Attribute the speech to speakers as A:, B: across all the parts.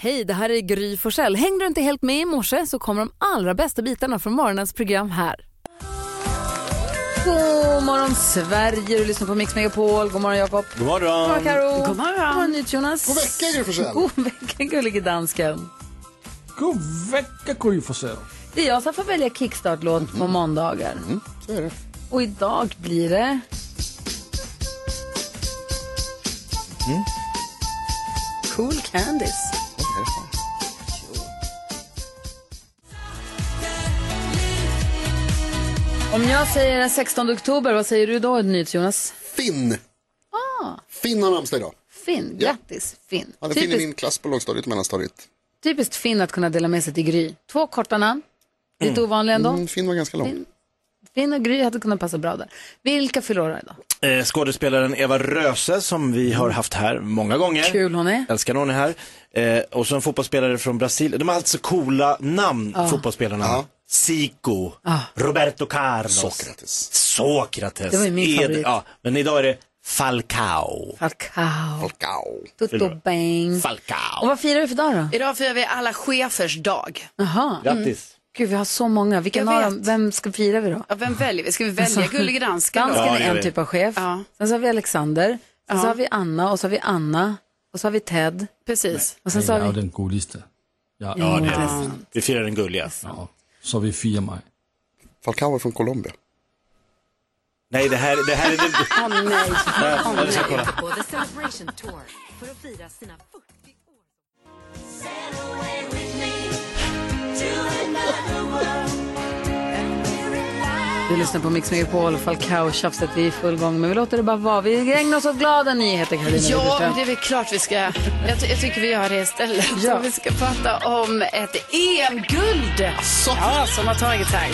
A: Hej, det här är Gry Forssell. Hängde du inte helt med i morse så kommer de allra bästa bitarna från morgonens program här. God morgon Sverige, du lyssnar på Mix Megapol. God morgon Jakob.
B: God morgon.
A: God morgon Karo.
C: God morgon.
A: God morgon Jonas.
C: God vecka, Gry Forssell.
A: God vecka gullige dansken.
D: God vecka Gry Forssell.
A: Det är jag som får välja kickstart-låt på måndagar.
C: Mm. Så är det.
A: Och idag blir det...
C: Mm. Cool Candice.
A: Om jag säger den 16 oktober, vad säger du då Jonas?
C: Finn.
A: Ah.
C: Finn har namnsdag idag.
A: Finn,
C: Ja.
A: grattis Finn.
C: Han är Finn i
A: Typiskt,
C: min klass på lågstadiet och mellanstadiet.
A: typiskt Finn att kunna dela med sig till Gry. Två korta namn, lite ovanliga ändå.
C: Mm, Finn var ganska lång.
A: Finn och Gry hade kunnat passa bra där. Vilka fyller år idag?
B: Eh, skådespelaren Eva Röse som vi har haft här många gånger.
A: Mm. Kul hon är.
B: Älskar när hon är här. Eh, och så en fotbollsspelare från Brasilien. De har alltså coola namn,
A: Ah.
B: fotbollsspelarna.
C: Ja.
B: Zico, Roberto Carlos,
C: Sokrates.
B: Sokrates.
A: Det var ju min favorit.
B: ja. Men idag är det Falcao.
A: Falcao,
C: Falcao.
A: Toto Beng.
B: Falcao.
A: Och Mm. vad firar vi för dag då?
E: Idag firar vi alla chefers dag.
A: Jaha,
B: Grattis.
A: gud vi har så många. Vilken
E: Jag
A: av
E: vet.
A: dem, vem ska fira vi då?
E: Ja, vem väljer vi? Ska vi välja Gullige Dansken
A: Dansken
E: då?
B: Ja,
A: är
B: det gör
A: en
B: vi.
A: typ av chef.
E: Ja.
A: Sen så har vi Alexander. Sen så
E: Ja.
A: har vi Anna och så har vi Anna. Och så har vi Ted.
E: Precis.
A: Och sen så
D: Jag
A: har
D: är
A: vi...
D: den gulligaste. Ja,
A: Ja,
D: ja,
A: det
D: det
A: är
D: är
A: sant.
B: Vi firar den gulliga.
D: ja. Så vi firar mig.
C: Falcao är från Colombia.
B: Nej, det här, det här är den...
E: Åh nej.
B: Nej, jag ska kolla.
A: Du lyssnar på Mix Megapol, Falcao-tjafset. Vi är i full gång, men vi låter det bara vara. Vi ägnar oss åt glada nyheter, Karolina
E: Ja,
A: Widerström.
E: men det är väl klart vi ska. Jag, ty- jag tycker vi gör det istället.
A: Ja.
E: Och Vi ska prata om ett EM-guld ja, som har tagits här.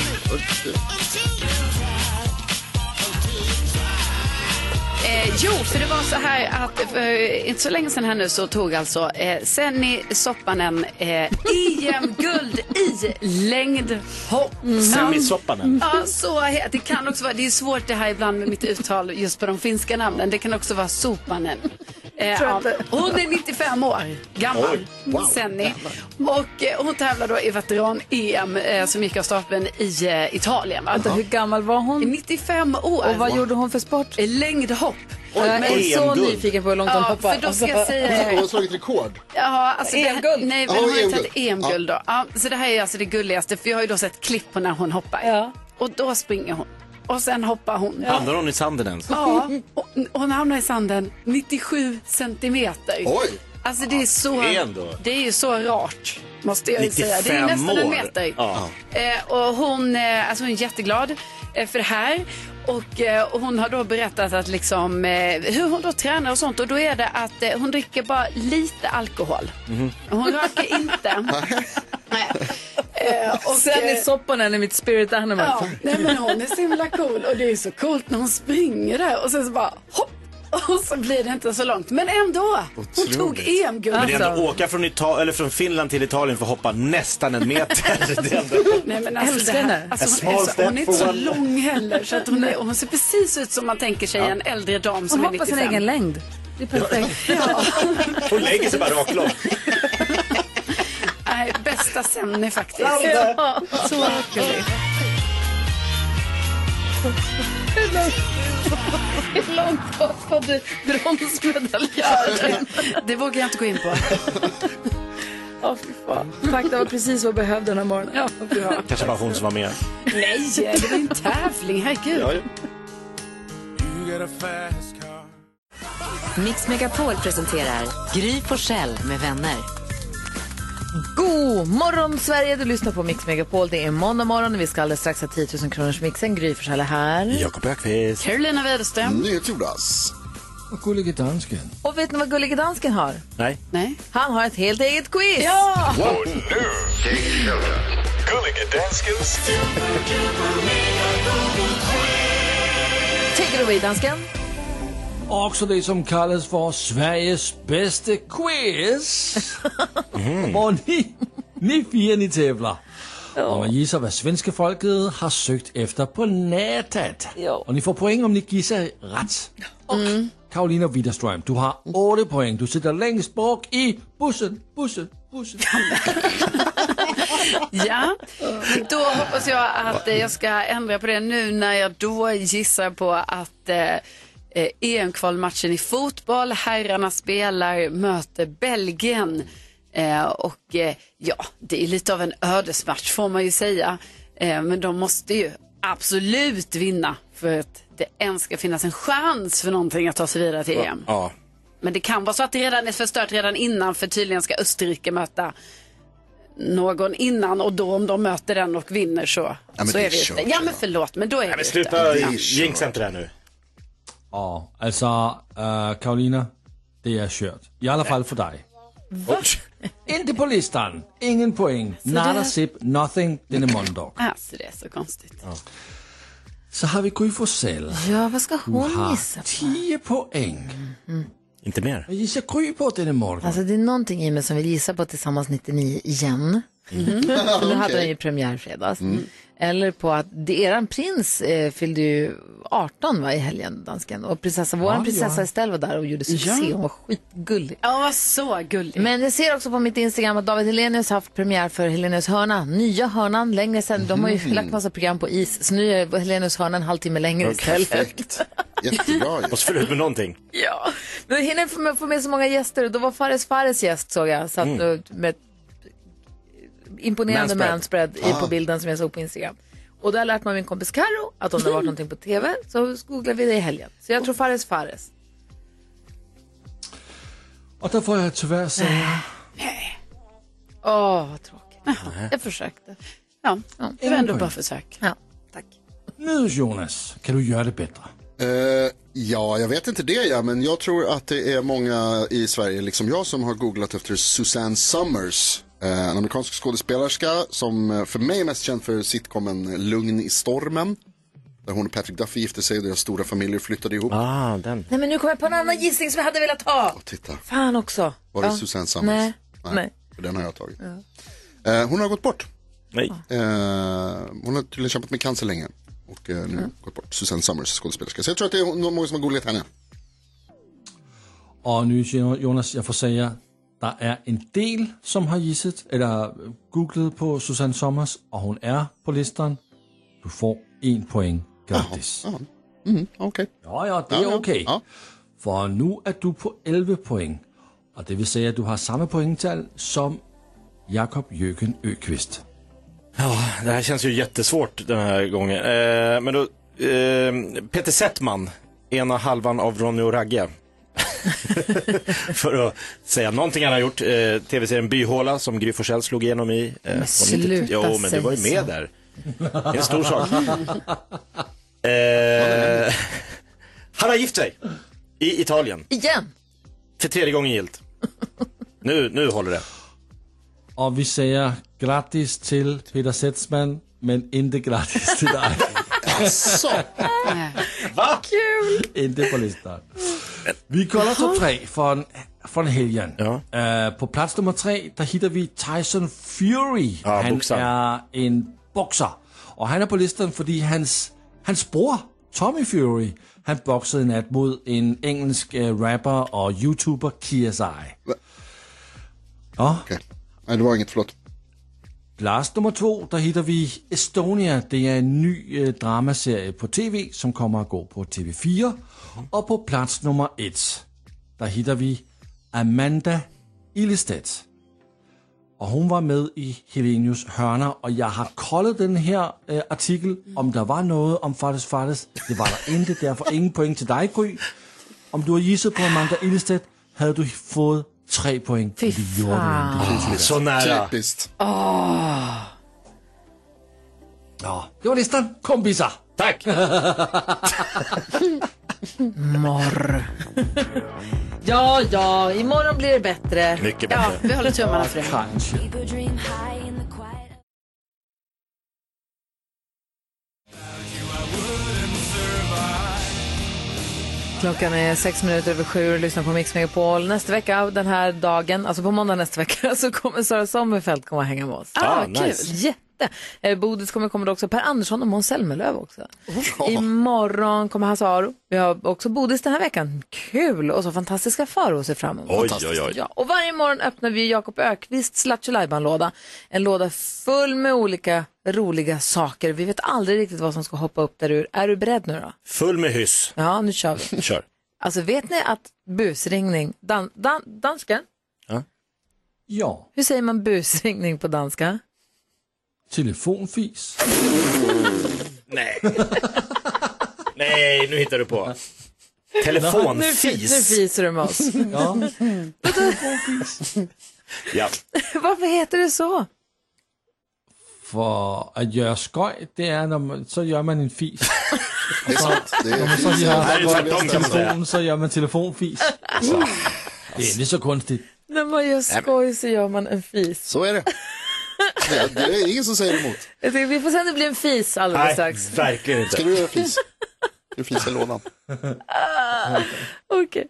E: Eh, jo, för det var så här att för inte så länge sedan här nu så tog alltså eh, Senni Soppanen eh, EM-guld i längdhopp.
B: Semi Soppanen.
E: Ja, så he- det kan också vara, det är svårt det här ibland med mitt uttal just på de finska namnen. Det kan också vara Sopanen. Eh, ja. Hon är 95 år gammal,
B: Oj,
E: Senni. Och eh, hon tävlar då i veteran-EM eh, som gick av stapeln i eh, Italien. Va?
A: Vänta, hur gammal var hon?
E: 95 år.
A: Och vad gjorde hon för sport?
E: Eh, Längdhopp.
A: jag är så
B: EM-guld.
A: nyfiken på hur långt de
E: Ja,
A: hoppar. Alltså, E
E: för då ska jag säga
A: Eh.
C: Hon har slagit rekord.
E: Ja, alltså det,
A: EM-guld.
E: nej, men
C: Ja,
E: hon har ju
C: EM-guld.
E: tagit EM-guld då. Ja, så det här är alltså det gulligaste, för jag har ju då sett klipp på när hon hoppar.
A: Ja.
E: Och då springer hon. Och sen hoppar hon. Ja.
B: Hamnar hon i sanden ens?
E: och hon hamnar i sanden 97 centimeter.
C: Oj!
E: Alltså det är så,
B: det är ändå-
E: det är ju så rart. Måste jag ju säga. Det är ju
B: 95
E: nästan en
B: år.
E: meter.
B: Ja.
E: Eh, och hon, eh, alltså hon är jätteglad eh, för det här. Och, eh, och hon har då berättat att liksom, eh, hur hon då tränar och sånt. Och då är det att eh, hon dricker bara lite alkohol.
B: Mhm.
E: Hon röker inte. Nej. Eh, och,
A: Sen i
E: eh,
A: Soppanen är mitt spirit animal.
E: Ja, nej men hon är så himla cool och det är så coolt när hon springer där och sen så bara hopp och så blir det inte så långt. Men ändå, hon
C: Otroligt.
E: tog EM-guld.
B: Men det är ändå åka från, Ita- eller från Finland till Italien för att hoppa nästan en meter. Det är ändå...
E: Nej, men alltså,
A: Älskar
E: det här,
A: henne.
E: alltså,
B: A
E: hon, är
B: small
E: så,
B: step
E: hon är inte så
B: forward.
E: lång heller så att hon, är, hon ser precis ut som man tänker sig en äldre dam som
A: Hon
E: är
A: hoppar
E: 95.
A: sin egen längd. Det är perfekt.
B: Hon lägger sig bara raklång.
E: Nej, bästa Senny faktiskt.
A: Ja, så roligt. Hur långt hoppade bronsmedaljören?
E: Det vågar jag inte gå in på.
A: Åh, fy fan. Fakta var precis vad jag behövde den här morgonen. Ja.
B: Kanske bara hon som var med.
E: Nej, det var ju en tävling, herregud.
F: Mix Megapol presenterar Gry Forssell med vänner.
A: God morgon Sverige, du lyssnar på Mix Megapol. Det är måndag morgon och vi ska alldeles strax ha 10 000 kronors mixen. Gry Forssell är här.
B: Jakob Öqvist.
E: Carolina Widerström.
C: Nyhets-Jonas.
D: Och gullige dansken.
A: Och vet ni vad gullige dansken har?
B: Nej.
E: Nej.
A: Han har ett helt eget quiz.
G: Och nu, take shelter. Gullige danskens
A: Take it away dansken.
D: Också det som kallas för Sveriges bästa Mm. quiz. Hvor ni, ni fire ni tävlar. Og man gissar vad svenska folket har sökt efter på nätet. Och ni får poäng om ni gissar rätt. Och Karolina Widerström, du har 8 poäng. Du sitter längst bak i bussen, bussen, bussen.
E: Ja, då hoppas jag att eh, jag ska ändra på det nu när jag då gissar på att eh, eh, EM-kvalmatchen i fotboll, herrarna spelar, möter Belgien. Eh, och eh, ja, det är lite av en ödesmatch får man ju säga. Eh, men de måste ju absolut vinna för att det ens ska finnas en chans för någonting att ta sig vidare till EM.
B: Ja.
E: Men det kan vara så att det redan är förstört redan innan för tydligen ska Österrike möta någon innan och då om de möter den och vinner så,
C: men
E: så
C: det
E: är
C: är
E: vi ute.
C: kört,
E: Ja men förlåt men då är vi ute.
B: Sluta jinxa inte det här nu.
D: Ja, alltså äh, Karolina, det är kört. I alla fall för dig. Inte på listan. Ingen poäng. Nada, zip, nothing. Den är måndag.
E: Alltså det är så konstigt.
D: Så har vi Gry Forssell.
A: Ja, vad ska hon
D: Har
A: gissa?
D: 10 poäng.
B: Inte mer.
D: Vad gissar Gry på denna morgon?
A: Alltså det är någonting i mig som vill gissa på Tillsammans 99 igen. För nu hade den ju premiär i fredags. Eller på att det- eran prins eh, fyllde ju 18 va, i helgen, dansken. Och prinsessa, vår
D: Ja,
A: prinsessa
D: ja.
A: Estelle var där och gjorde succé. Hon var skitgullig.
E: Ja vad så gulligt.
A: Men jag ser också på mitt Instagram att David Helenius har haft premiär för Helenius hörna. Nya hörnan, längre sen. De har ju lagt massa program på is. Så nu är Helenius hörna en halvtimme längre istället.
C: Perfekt. Jättebra ju.
B: Måste fylla ut med någonting.
A: Ja, men jag hinner få med, få med så många gäster och då var Fares Fares gäst såg jag. Så att, eh, med ett imponerande manspread, Ah.
B: Manspread.
A: i, på bilden som jag såg på Instagram. Och då har jag lärt mig av min kompis Karo att om det har varit någonting på TV så googlade vi det i helgen. Så jag tror Fares Fares.
D: Och där får jag tyvärr säga
A: Åh, vad tråkigt. Jag försökte.
E: Ja, det var ändå
D: poäng.
E: bara försök.
A: Ja.
D: Nu Jonas, kan du göra det bättre?
C: Eh, ja, jag vet inte det ja, men jag tror att det är många i Sverige, liksom jag, som har googlat efter Susanne Summers. eh, En amerikansk skådespelerska som eh, för mig är mest känd för sitcomen Lugn i stormen. Där hon och Patrick Duffy gifte sig och deras stora familjer flyttade ihop.
B: Ah, den.
A: Nej, men nu kommer jag på en annan gissning som jag hade velat ha.
C: Titta,
A: Fan också.
C: var det
A: Ja.
C: Susanne Summers?
A: Nej. Nej.
C: För den har jag tagit. Eh, hon har gått bort.
B: Nej.
C: Eh, hon har tydligen kämpat med cancer länge. Och eh,
A: Mm.
C: nu gått bort. Susanne Summers, skådespelerska. Så jag tror att det är hon- många som har googlat henne.
D: Och nu Jonas, jag får säga där är en del som har gissat eller googlat på Susanne Sommers och hon är på listan. Du får en poäng gratis.
C: Mm, okej.
D: Ja, ja, det är okej.
C: Ja.
D: För nu är du på 11 poäng. Och det vill säga att du har samma poängtal som Jakob Jöken Öqvist.
B: Det här känns ju jättesvårt den här gången. Eh, men då, eh, Peter Settman, ena halvan av Ronny och Ragge. För att säga någonting han har gjort. Eh, Tv-serien Byhåla som Gry Forssell slog igenom i. Eh, på 90-talet.
A: sluta
B: Jo, men du var ju
A: säga
B: med
A: så.
B: där. Det är en stor sak. eh, han har gift sig i Italien
A: Igen.
B: för tredje gången gillt. Nu, nu håller det.
D: Och vi säger grattis till Peter Setzman, men inte grattis till dig. Inte på listan. Vi kollar topp tre från, från helgen.
B: Ja.
D: Eh, på plats nummer tre, där hittar vi Tyson Fury.
B: Ja,
D: han
B: boxaren.
D: är en boxer. Och han är på listan för hans, hans bror, Tommy Fury, han boxade i natt mot en engelsk eh, rapper och youtuber KSI. Ja.
C: Okej. Nej, det var inget, förlåt.
D: Plats nummer två, där hittar vi Estonia. Det är en ny eh, dramaserie på TV som kommer att gå på TV4. Och på plats nummer ett, där hittar vi Amanda Ilestedt. Och hon var med i Helenius hörna och jag har kollat den här eh, artikeln om det var något om Fares Fares. Det var det inte, därför ingen poäng till dig Gry. Om du har gissat på Amanda Ilestedt hade du fått tre poäng. Fy fan.
B: Så nära.
C: Typiskt.
D: Ja, det var listan. Kompisar!
B: Tack!
A: Morr. ja, ja, imorgon blir det bättre.
B: Mycket bättre.
E: Ja, vi håller tummarna för det.
D: Kanske.
A: Klockan är sex minuter över sju och lyssnar på Mix Megapol. Nästa vecka, den här dagen, alltså på måndag nästa vecka, så kommer Sara Sommerfeld komma och hänga med oss.
E: Ah,
B: Ah, nice.
E: kul.
A: Jättekul! Eh, Bodis kommer komma också Per Andersson och Måns Zelmerlöw också. Imorgon kommer Hasaro. Vi har också Bodis den här veckan. Kul! Och så fantastiska Farao ser fram emot.
B: Oj, oj, oj.
A: Ja, och varje morgon öppnar vi Jakob Ökvists Lattjo låda En låda full med olika roliga saker. Vi vet aldrig riktigt vad som ska hoppa upp där ur. Är du beredd nu då?
B: Full med hyss.
A: Ja, nu kör vi.
B: Kör.
A: Alltså vet ni att busringning, dan, dan, dansken,
D: Ja,
A: hur säger man busringning på danska?
D: telefonfis.
B: Nej. Nej, nu hittar du på.
A: Nu, fi- nu
B: Telefonfis.
A: fiser du med oss.
D: Ja.
B: Ja.
A: Varför heter det så?
D: For at gøre skøj, det er, når man, så gör man en fis.
C: Det är sant. Det är,
D: Så gör
B: Nej, det är
D: man
B: tvärtom kan man säga.
D: telefonen, så gör man telefonfis. Det är inte så konstigt.
A: När man gör skoj så gör man en fis.
C: så är det. det. Det är ingen som säger emot.
A: Jag tycker, vi får se om det blir en fis alldeles
B: Nej,
A: strax.
B: verkligen
C: Ska
B: inte.
C: du göra flis? Du flisar lådan.
A: Okej.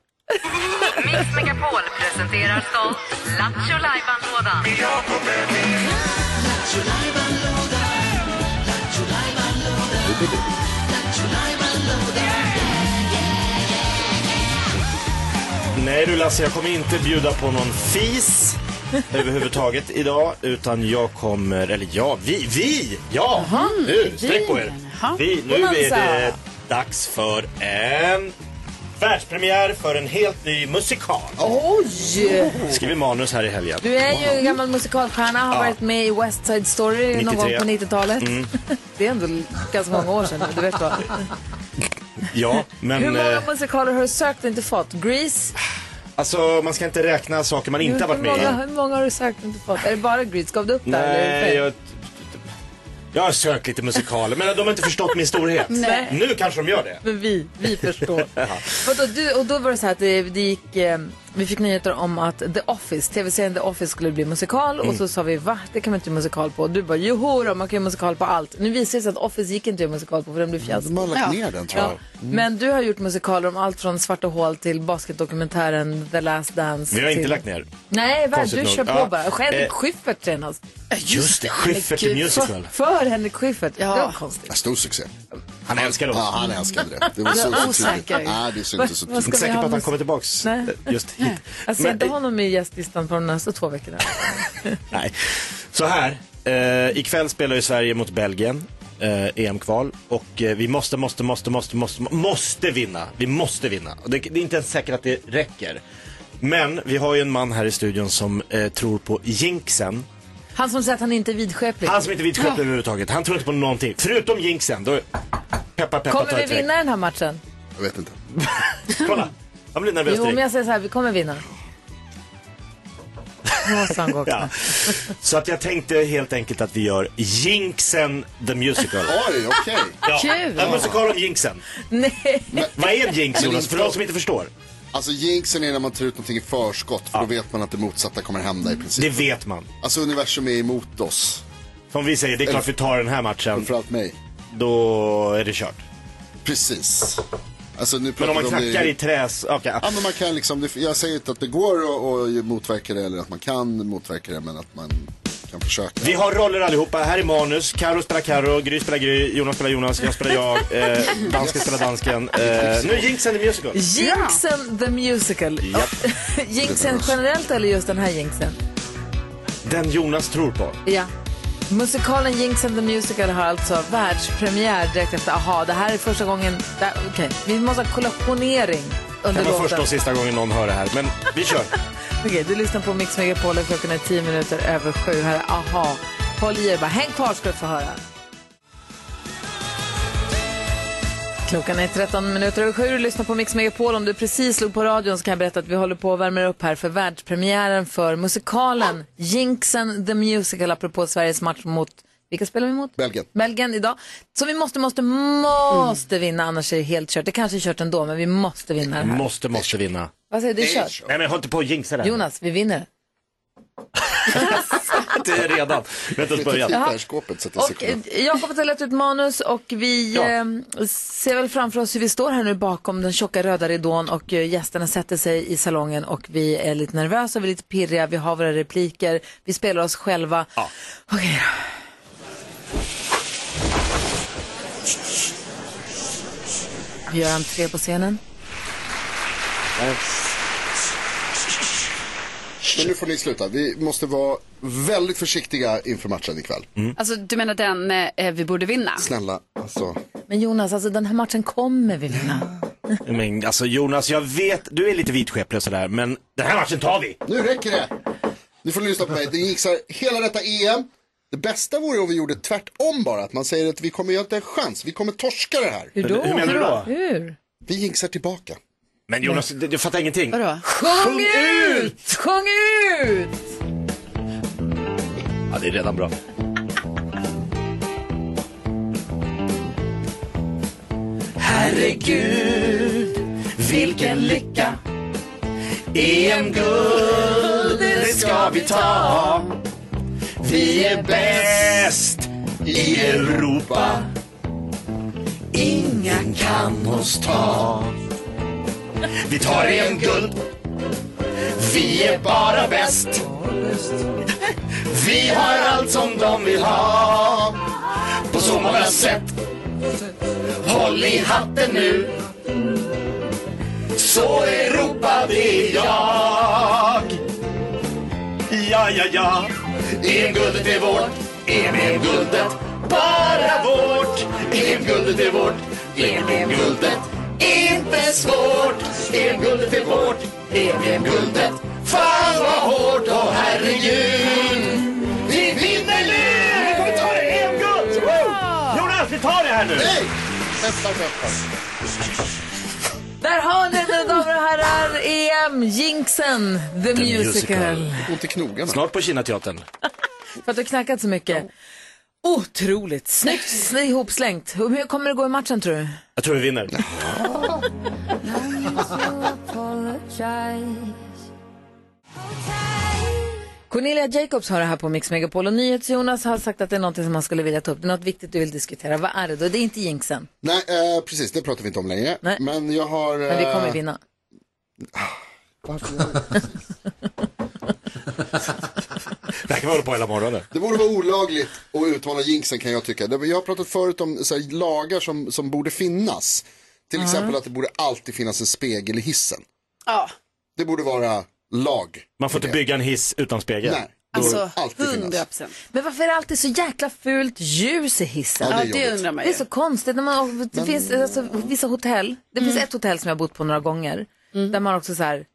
F: Mix Megapol presenterar stolt Lattjo Lajban-lådan.
B: Nej du Lasse, jag kommer inte bjuda på någon fis överhuvudtaget idag. Utan jag kommer, eller ja, vi, vi! Ja, nu, sträck på er.
E: Jaha.
B: Vi, nu är
A: Bonanza.
B: det dags för en världspremiär för en helt ny musikal.
A: Oj!
B: Skriver manus här i helgen.
A: Oh. Du är ju en gammal musikalstjärna, har varit med i West Side Story någon gång
B: 93.
A: på 90-talet.
B: Mm.
A: Det är ändå ganska många år sedan, du vet vad.
B: Ja,
A: Hur
B: men
A: många
B: eh,
A: musikaler har du sökt och inte fått? Grease?
B: alltså man ska inte räkna saker man inte har varit
A: hur,
B: med i.
A: många, hur många har du sökt och inte fått? Är det bara Grease? Gav du upp där? eller är det
B: Nej,
A: fler?
B: jag, jag har sökt lite musikaler, men de har inte förstått min storhet.
A: Nej.
B: Nu kanske de gör det.
A: Men vi, vi förstår. Vadå, du, och då var det så här att det, det gick, eh, vi fick nyheter om att The Office, tv-serien The Office skulle bli musikal
B: Mm.
A: och så sa vi va? Det kan man inte göra musikal på. Du bara joho då, man kan göra musikal på allt. Nu visar det sig att Office gick inte att göra musikal på för den blev fiasko.
C: De har lagt ner den tror jag.
A: Ja.
B: Mm.
A: Men du har gjort musikaler om allt från Svarta hål till basketdokumentären The Last Dance.
B: Vi har inte
A: till...
B: lagt ner.
A: Nej, vad,
B: Konstigt
A: du
B: nog.
A: kör på
B: Ja.
A: bara. Henrik
B: Eh.
A: Schyffert senast.
B: Just det, Schyffert i musical.
A: För Henrik Schyffert.
E: Ja.
A: Det var konstigt.
C: Ja, Stor succé.
B: Han älskar
C: Ja,
B: oss.
C: han älskade det. Det var så,
E: Jag är
C: så tydligt.
E: osäker.
C: Nej, det syntes så
A: Vad- vad
C: tydligt.
B: Inte
A: Ska vi
B: säker
A: ha
B: på att han
A: mus-
B: kommer tillbaks
A: Nej.
B: eh, just hit.
A: Alltså, Jag ser
B: Men,
A: inte
B: eh,
A: honom i gästlistan på de nästa två veckorna.
B: Nej. Så här, eh, ikväll spelar ju Sverige mot Belgien. Eh, EM-kval och eh, vi måste, måste, måste, måste, måste, måste vinna. Vi måste vinna. Och Det, det är inte ens säkert att det räcker. Men vi har ju en man här i studion som eh, tror på jinxen.
A: Han som säger att han inte är vidskeplig.
B: Han som inte är vidskeplig överhuvudtaget. Han tror inte på någonting. Förutom jinxen. Då, peppa, peppa, ta
A: Kommer vi
B: ett
A: vinna den här matchen?
C: Jag vet inte.
B: Väg. Kolla, han blir nervös
A: Jo, men
B: direkt.
A: jag säger så här, vi kommer vinna. Nu måste han gå också.
B: Ja. Så att jag tänkte helt enkelt att vi gör jinxen the musical.
C: Oj, okej.
B: Ja,
E: Kul!
B: En musikal om jinxen.
A: Nej,
B: Vad är en jinx
C: Men
B: Jonas?
C: inte-
B: För de som inte förstår.
C: Alltså jinxen är när man tar ut någonting i förskott för då vet man att det motsatta kommer hända i
B: Det
C: princip.
B: vet man.
C: Alltså universum är emot oss.
B: Som vi säger, det är klart vi tar den här matchen.
C: Framförallt mig.
B: Då är det kört.
C: Precis. Alltså nu
B: Men
C: pratar
B: om man
C: vi om det-
B: knackar i träs... okej.
C: Ja, men man kan liksom, det- jag säger inte att det går att att motverka det eller att man kan motverka det men att man kan försöka.
B: Vi har roller allihopa. Här är manus. Karo spelar Karo, Gry spelar Gry, Jonas spelar Jonas, jag spelar jag, eh, dansken spelar dansken. Eh, nu är jinxen the musical.
A: Jinxen the musical. jinxen generellt eller just den här jinxen?
B: Den Jonas tror på.
A: Ja. Musikalen Jinxen the Musical har alltså världspremiär direkt efter Aha. Det här är första gången... där- Okej, vi måste ha kollationering under
B: Det var
A: låten.
B: första och sista gången någon hör det här, men vi kör.
A: Okej, du lyssnar på Mix Megapol och klockan är tio minuter över sju. Här är Aha. Håll i er bara. Häng kvar ska du få höra. Klockan är 13 minuter över sju. Du lyssnar på Mix Megapol. Om du precis slog på radion så kan jag berätta att vi håller på och värmer upp här för världspremiären för musikalen Jinxen the Musical apropå Sveriges match mot vilka spelar vi mot?
C: Belgien.
A: Belgien idag. Så vi måste, måste, måste vinna annars är det helt kört. Det kanske är kört ändå men vi måste vinna det här.
B: Måste, måste vinna.
A: Vad säger du? Det är kört?
B: Nej men håll inte på och jinxa det här.
A: Jonas, vi vinner.
B: Det är redan. Låt oss
C: Jag
B: börja.
C: tittar i skåpet så att jag ska
A: Och eh,
C: kunna...
A: Jakob har lagt ut manus och vi
B: Ja.
A: eh, ser väl framför oss hur vi står här nu bakom den tjocka röda ridån och eh, gästerna sätter sig i salongen och vi är lite nervösa, vi är lite pirriga, vi har våra repliker, vi spelar oss själva. Okej då. Gör entré på scenen.
C: Men nu får ni sluta. Vi måste vara väldigt försiktiga inför matchen ikväll.
B: Mm.
E: Alltså, du menar den eh, vi borde vinna?
C: Snälla, alltså.
A: Men Jonas, alltså den här matchen kommer vi vinna.
B: Men alltså Jonas, jag vet, du är lite vitskeplig och sådär, men den här matchen tar vi!
C: Nu räcker det! Nu får ni lyssna på mig. Det gick så här hela detta EM. Det bästa vore om vi gjorde tvärtom bara. Att man säger att vi kommer ju inte ha en chans. Vi kommer torska det här.
A: Hur då?
B: Hur menar du då?
A: Hur?
C: Vi jinxar tillbaka.
B: Men Jonas, du, du fattar ingenting.
E: Vadå?
A: Sjung ut! Sjung ut!
B: Ja, det är redan bra. Herregud, vilken lycka! EM-guld, det ska vi ta! Vi är bäst i Europa. Ingen kan oss ta. Vi tar EM-guld. Vi är bara bäst. Vi har allt som de vill ha På så många sätt Håll i hatten nu Så Europa det är jag Ja, ja, ja EM-guldet är vårt EM-guldet bara vårt EM-guldet är vårt EM-guldet inte svårt EM-guldet är vårt EM-guldet Fan vad hårt och herregud vi vinner nu! Vi kommer ta det EM-guld! Jonas, vi tar det här nu!
C: Hej! Nästa match.
A: Där har ni mina damer och herrar, EM, Jinxen, The, musical.
B: Musical.
C: Ont i knogarna.
B: Snart på Kinateatern.
A: För att du har knackat så mycket. Otroligt snyggt sn- ihopslängt. Hur hur kommer det gå i matchen tror du?
B: Jag tror vi vinner.
A: Cornelia Jacobs har det här på Mix Megapol och NyhetsJonas har sagt att det är något som han skulle vilja ta upp. Det är något viktigt du vill diskutera. Vad är det då? Det är inte jinxen,
C: Nej, eh, precis. Det pratar vi inte om längre.
A: Nej.
C: Men jag har...
A: men vi kommer
C: eh,
A: vinna.
C: varför-
B: Det här kan vi hålla på hela morgonen.
C: Det borde vara olagligt att uttala jinxen kan jag tycka. Det- Jag har pratat förut om så här, lagar som, som borde finnas. Till exempel att det borde alltid finnas en spegel i hissen.
E: Ja,
C: Det borde vara lag.
B: Man får inte bygga en hiss utan spegel.
C: Nej.
E: alltså
C: alltid finnas.
E: 100 procent.
A: Men varför är det alltid så jäkla fult ljus i hissen?
C: Ja,
E: Ja,
C: det är
E: det
C: jobbigt.
E: undrar man
A: Det är
E: ju.
A: så konstigt. När man, det finns alltså, vissa hotell. Det
C: Mm.
A: finns ett hotell som jag har bott på några gånger. Där man också så här.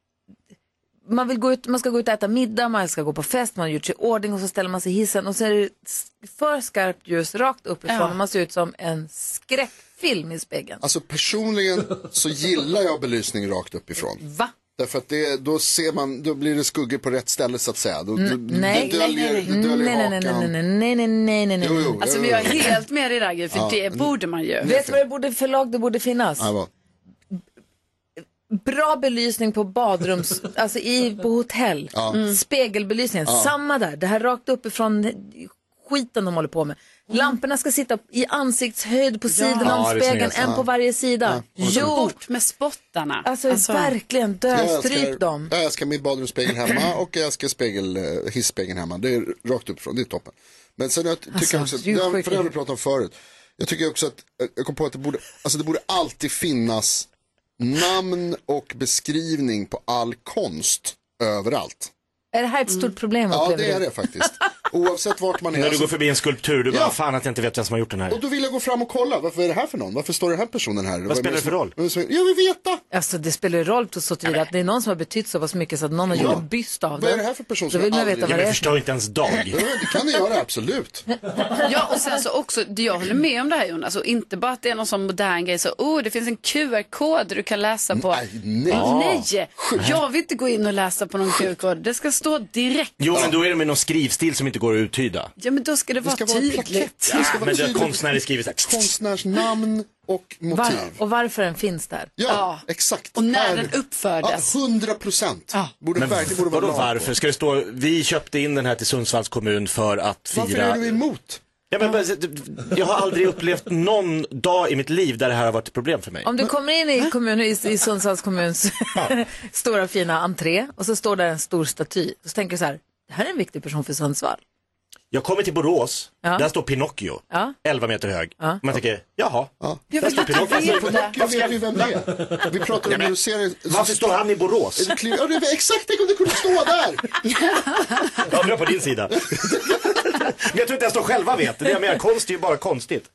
A: Man, vill gå ut, man ska gå ut och äta middag, man ska gå på fest, man har gjort sig i ordning och så ställer man sig i hissen och så är det s- för skarpt ljus rakt uppifrån
E: Ja.
A: och man ser ut som en skräckfilm i spegeln.
C: Alltså personligen så gillar jag belysning rakt uppifrån.
A: Va?
C: Därför att det, då ser man, då blir det skuggor på rätt ställe så att säga. Då, då,
A: Mm. nej.
C: det döljer, det
A: Nej,
C: döljer
A: nej, nej,
C: hakan.
A: nej, nej, nej, nej, nej, nej,
C: Jo,
A: nej.
C: jo,
E: Alltså,
C: jo,
E: men jag är
C: jo.
E: helt med dig Ragge, för det borde man ju.
A: Vet du vad det borde för lag det borde finnas?
C: Ja, vad?
A: Bra belysning på badrums, alltså i, på hotell. Mm. Spegelbelysningen, samma där. Det här rakt uppifrån skiten de håller på med. Lamporna ska sitta i ansiktshöjd på sidorna
B: Ja, det
A: om
B: är
A: spegeln,
B: snyggast.
A: en på varje sida. Jo,
E: Bort med spottarna.
A: alltså, verkligen
C: Jag
A: dövstryp
C: älskar-
A: dem.
C: Jag älskar min badrumsspegel hemma och jag älskar spegel, eh, hissspegeln hemma. Det är rakt uppifrån, det är toppen. Men sen jag ty- tycker jag också, att,
A: Alltså, du är
C: det har
A: sjuk.
C: för det har vi pratat om förut. Jag tycker också att, eh, jag kom på att det borde, alltså det borde alltid finnas namn och beskrivning på all konst överallt.
A: Är det här ett stort problem?
C: Ja,
A: upplever
C: det är
A: du?
C: det faktiskt. Oavsett vart man är.
B: När du
C: alltså-
B: går förbi en skulptur, du bara,
C: Ja.
B: fan att jag inte vet vem som har gjort den här.
C: och då vill jag gå fram och kolla, varför är det här för någon? Varför står den här personen här? Vad
B: spelar det för roll?
C: Jag vill veta!
A: Alltså det spelar ju roll på så tillvida att det är någon som har betytt så pass mycket så att någon har gjort en byst av det.
C: Vad är det här för person som
A: Då vill
C: jag
A: man veta
B: Ja,
C: aldrig-
A: vad det
B: men
A: är.
B: förstör inte ens dag.
C: Ja, Det kan ni göra, absolut.
E: Ja, och sen så också, det jag håller med om det här Jonas, och inte bara att det är någon sån modern grej, så oh, det finns en QR-kod du kan läsa på.
C: Nej, nej.
E: nej. jag vill inte gå in och läsa på någon QR-kod, det ska stå direkt.
B: Jo, men då är det med någon skrivstil som inte går att uttyda.
E: Ja, men då ska det vara
C: ska vara en
E: tydligt.
C: plakett. Det ska
B: Men
C: vara
B: det har
C: tydligt.
B: konstnärer skrivit så här.
C: konstnärsnamn och
A: Var,
C: motiv.
A: och varför den finns där.
C: Ja,
E: Ja.
C: exakt.
E: Och när
C: Här-
E: den uppfördes.
C: Ja, 100 procent. Borde
B: Men
C: verkligen borde vara
B: vadå
C: lag på.
B: varför? Ska det stå, vi köpte in den här till Sundsvalls kommun för att fira.
C: Varför är du emot?
B: ja, men, bara- jag har aldrig upplevt någon dag i mitt liv där det här har varit ett problem för mig.
A: Om du kommer in i, kommun, i, i Sundsvalls kommuns stora fina entré och så står där en stor staty. Så tänker du så här, det här är en viktig person för Sundsvall.
B: Jag kommer till Borås,
A: Ja.
B: där står Pinocchio,
A: Ja.
B: 11 meter hög.
A: Ja.
B: Man tänker, jaha,
E: Jag
B: där
E: vill
B: står
E: inte
B: Pinocchio.
E: veta.
C: Pinocchio vet vi vem det är. Vi pratar om en serien.
B: Varför står han i Borås?
C: Ja, det är exakt, tänk om det kunde stå där!
B: Jag undrar på din sida. Men jag tror inte ens de själva vet. Det är det jag menar, konst är ju bara konstigt.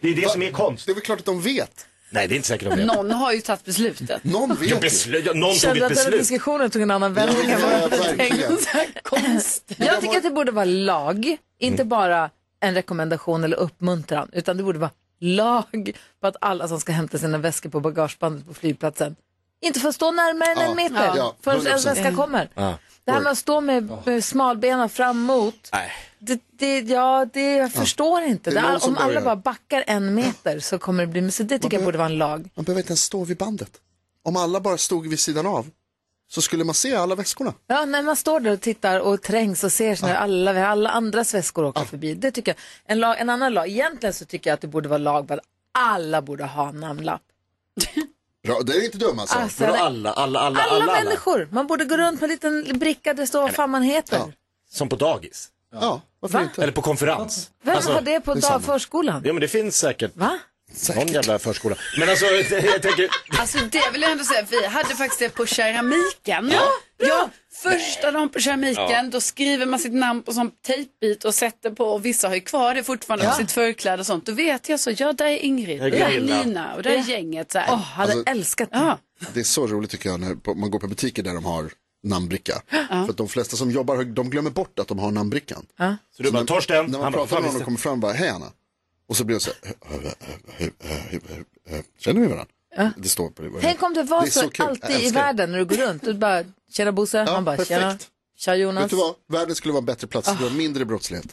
B: Det är det som är konst.
C: Det är väl klart att de vet.
B: Nej, det är inte säkert de vet.
E: Någon har ju tagit beslutet.
C: Någon
B: Jag
C: vet ju.
B: beslu- jag- någon tog
A: Kände
B: ett
A: att den
B: beslut.
A: diskussionen tog en annan vändning än vad jag
C: Ja, Mm.
A: hade
C: verkligen.
A: tänkt. Jag tycker att det borde vara lag, inte bara en rekommendation eller uppmuntran, utan det borde vara lag på att alla som ska hämta sina väskor på bagagebandet på flygplatsen inte får stå närmare än
C: Ja,
A: en meter
C: ja, Mm.
A: förrän ens
C: 100%.
A: väska kommer. Det här med att stå med med smalbenen fram emot,
B: Nej.
A: det, det, ja, det, jag förstår inte.
C: Det är
A: Det
C: någon
A: är,
C: som
A: om alla
C: börjar.
A: bara backar en meter så kommer det bli, men så det tycker jag borde vara en lag.
C: Man behöver inte ens stå vid bandet. Om alla bara stod vid sidan av så skulle man se alla väskorna.
A: Ja, när man står där och tittar och trängs och ser så när alla, alla andras väskor åker förbi. Det tycker jag. En, lag, en annan lag, egentligen så tycker jag att det borde vara lag på att alla borde ha en namnlapp.
C: Bra, det är inte dum alltså.
A: Alltså,
B: Vadå
A: alla,
B: alla, alla, alla, alla,
A: alla
B: alla,
A: människor. Man borde gå runt med en liten bricka där det står vad fan man heter.
C: Ja.
B: Som på dagis.
C: Ja, varför
A: Va?
C: inte?
B: Eller på konferens.
A: Vem
B: Alltså,
A: har det på
C: samma.
A: dag, förskolan?
B: Ja men det finns säkert
A: Va?
B: någon jävla förskola. Men alltså, jag tänker,
E: Alltså det vill jag ändå säga, vi hade faktiskt det på keramiken. Ja, ja första dagen på keramiken, då skriver man sitt namn på sån tejpbit och sätter på och vissa har ju kvar det fortfarande på sitt förkläde och sånt. Då vet jag så, ja där är Ingrid,
B: Där är
E: där är
B: Gunilla.
E: Nina och där är gänget så här.
A: Åh, hade älskat det.
E: Ja.
C: Det är så roligt tycker jag när på- man går på butiker där de har namnbricka. För att de flesta som jobbar, de glömmer bort att de har namnbrickan.
B: så du bara, Torsten,
C: När
B: han
C: man
B: bara,
C: pratar
B: fan
C: med någon och
B: visst.
C: kommer fram och bara, hej Anna. Och så blir det så här, känner vi varandra? Det står på det.
A: Tänk om det var
C: Det är
A: så,
C: så kul. Jag
A: alltid i
C: älskar det.
A: världen när du går runt. Du bara, tjena Bosse,
C: Ja,
A: han bara, tjena.
C: perfekt.
A: Tja
C: Vet
A: Jonas.
C: du vad, världen skulle vara en bättre plats, det skulle vara mindre brottslighet.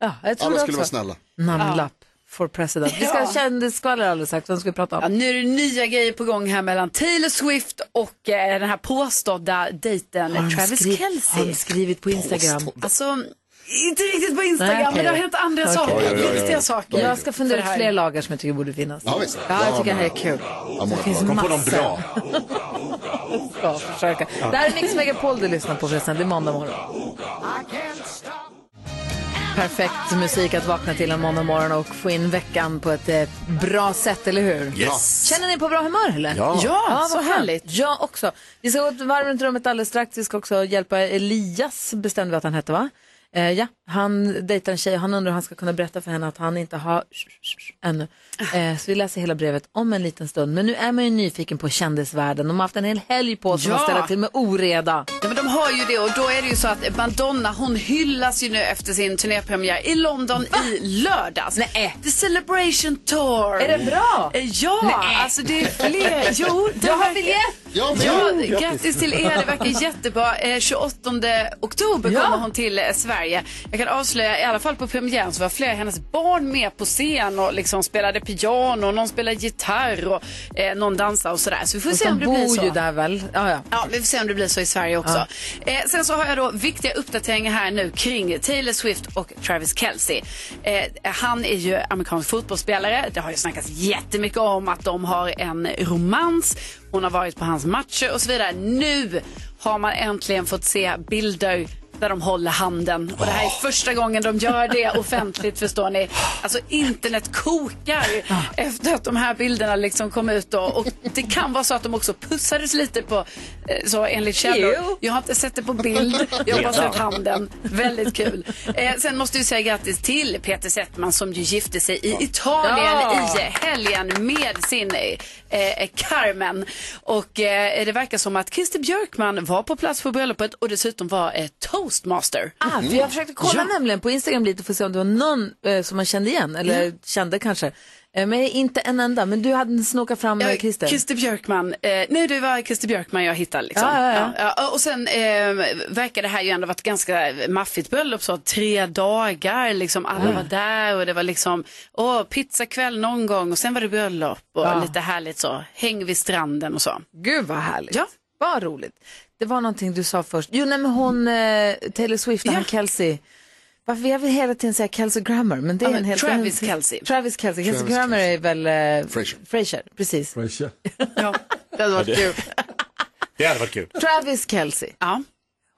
A: Ja, Ah. jag tror
C: Alla
A: det
C: skulle
A: också.
C: vara snälla.
A: Namnlapp for president. Vi ska ha
E: Ja.
A: kändisskvaller alldeles strax. Vem ska vi prata om?
E: Ja, nu är det nya grejer på gång här mellan Taylor Swift och eh, den här påstådda dejten
A: Har han
E: Travis
A: skri-
E: Kelce.
A: Har han skrivit på Instagram?
E: Alltså, inte riktigt på Instagram,
A: Nej, okej
E: men det har
A: då.
E: hänt andra saker, viktiga saker.
A: Jag ska fundera
E: För
A: ut
E: här.
A: fler lagar som jag tycker borde finnas.
C: Ja, visst.
A: Ja, jag tycker det här är
C: men-
A: kul.
C: Ja, många
A: Det finns
C: bra.
B: Kom på någon
A: massor.
B: bra.
A: Ja, försöka. Det här är Mix Megapol du lyssnar på förresten. Det är måndag morgon. Perfekt musik att vakna till en måndag morgon och få in veckan på ett eh, bra sätt, eller hur?
B: Yes.
A: Känner ni på bra humör eller?
B: Ja.
E: Ja,
A: vad
E: så
A: skönt.
E: härligt.
A: Jag också. Vi ska gå ett varv runt rummet alldeles strax. Vi ska också hjälpa Elias, bestämde vi att han hette va? Eh, ja, han dejtar en tjej och han undrar hur han ska kunna berätta för henne att han inte har ännu. Eh, så vi läser hela brevet om en liten stund. Men nu är man ju nyfiken på kändisvärlden. De har haft en hel helg på sig
E: Ja.
A: att ställa till med oreda.
E: Ja, men de har ju det och då är det ju så att Madonna hon hyllas ju nu efter sin turnépremiär i London i lördags.
A: Nej.
E: The Celebration Tour.
A: Är det bra?
E: Eh, Ja, alltså det är fler. Jo, det
A: Jag har
E: verkar-
A: biljett!
C: Ja, men-
E: Ja, grattis till er, det verkar jättebra. Eh, 28 oktober
A: Ja.
E: kommer hon till eh, Sverige. Jag kan avslöja, i alla fall på premiären så var flera av hennes barn med på scen och liksom spelade piano, någon spelade gitarr och eh, någon dansade och sådär. Så vi får se om
A: De
E: det blir
A: bor
E: så.
A: ju där väl? Ja, ja.
E: Ja, vi får se om det blir så i Sverige också. Eh, sen så har jag då viktiga uppdateringar här nu kring Taylor Swift och Travis Kelce. Eh, han är ju amerikansk fotbollsspelare. Det har ju snackats jättemycket om att de har en romans. Hon har varit på hans matcher och så vidare. Nu har man äntligen fått se bilder där de håller handen. Och det här är första gången de gör det offentligt förstår ni. Alltså internet kokar efter att de här bilderna liksom kom ut då. Och det kan vara så att de också pussades lite på, eh, så enligt
A: Ew.
E: källor. Jag har inte sett det på bild, jag har bara
B: Redan.
E: sett handen. Väldigt kul. Eh, sen måste vi säga grattis till Peter Settman som ju gifte sig i Italien
A: Ja.
E: i helgen med sin eh, eh, Carmen. Och eh, det verkar som att Christer Björkman var på plats på bröllopet och dessutom var eh, toastmaster.
A: Ah, för jag försökte kolla nämligen på Instagram lite för att se om det var någon eh, som man kände igen, eller kände kanske. Eh, men inte en enda, men du hade snokat fram eh,
E: Ja,
A: Christer.
E: Christer Björkman. Eh, nej, det var Christer Björkman jag hittade. Liksom.
A: Ja, ja,
E: Ja, ja, och sen eh, verkar det här ju ändå varit ganska maffigt bröllop. Så tre dagar, liksom, alla
A: Mm.
E: var där och det var liksom åh, pizzakväll någon gång och sen var det bröllop och
A: Ja.
E: lite härligt så. Häng vid stranden och så.
A: Gud vad härligt.
E: Ja.
A: Vad roligt. Det var någonting du sa först. Jo, nej, men hon, eh, Taylor Swift, och
E: Ja.
A: han Kelsey. Varför jag vill hela tiden säga Kelsey Grammer, men det är
E: Ja, men
A: en helt
E: Travis
A: en,
E: Kelce.
A: Travis Kelsey. Kelsey
C: Travis
A: Grammer
C: Kelce.
A: är väl... Eh,
C: Frasier.
A: Frasier, precis.
D: Pressure.
E: Ja, det hade varit kul.
B: Det hade varit kul.
A: Travis Kelsey.
E: Ja.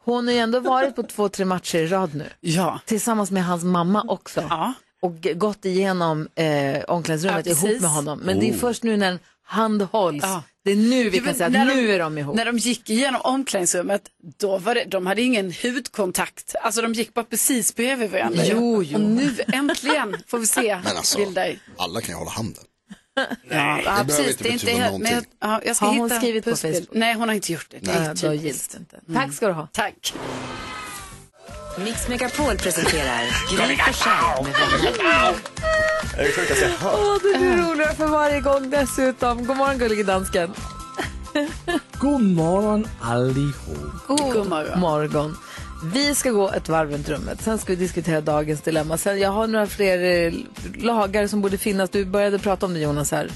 A: Hon har ju ändå varit på två, tre matcher i rad nu.
E: Ja.
A: Tillsammans med hans mamma också.
E: Ja.
A: Och g- gått igenom eh, omklädningsrummet
E: Ja, precis.
A: ihop med honom. Men
C: Oh.
A: det är först nu när en hand hålls.
E: Ja.
A: Det är nu vi
E: Jo, men
A: kan säga att
E: när
A: nu är de ihop.
E: När de gick igenom omklädningsrummet, då var det, de hade ingen hudkontakt. Alltså de gick bara precis bredvid varandra.
A: Jo, jo.
E: Och nu äntligen får vi se
C: Men alltså,
E: bilder.
C: alla kan ju hålla handen.
E: Ja, ja,
C: behöver inte betyda
E: helt-
C: någonting.
E: Men jag, ja, jag ska
A: Har
E: hitta
A: hon skrivit på
E: pussbild.
A: Facebook?
E: Nej, hon har inte gjort det. det är
A: Nej, Eh, då
E: typiskt. Mm.
A: gills det inte. Tack ska du ha.
E: Tack.
F: Mix Megapol presenterar Gry Forssell med vänner.
B: Det är det sjukaste jag hört.
A: Åh, det blir roligare för varje gång dessutom. God morgon gullige dansken.
D: God morgon allihop.
A: God,
E: God morgon.
A: morgon. Vi ska gå ett varv runt rummet, sen ska vi diskutera dagens dilemma. Sen, jag har några fler eh, lagar som borde finnas. Du började prata om det Jonas här.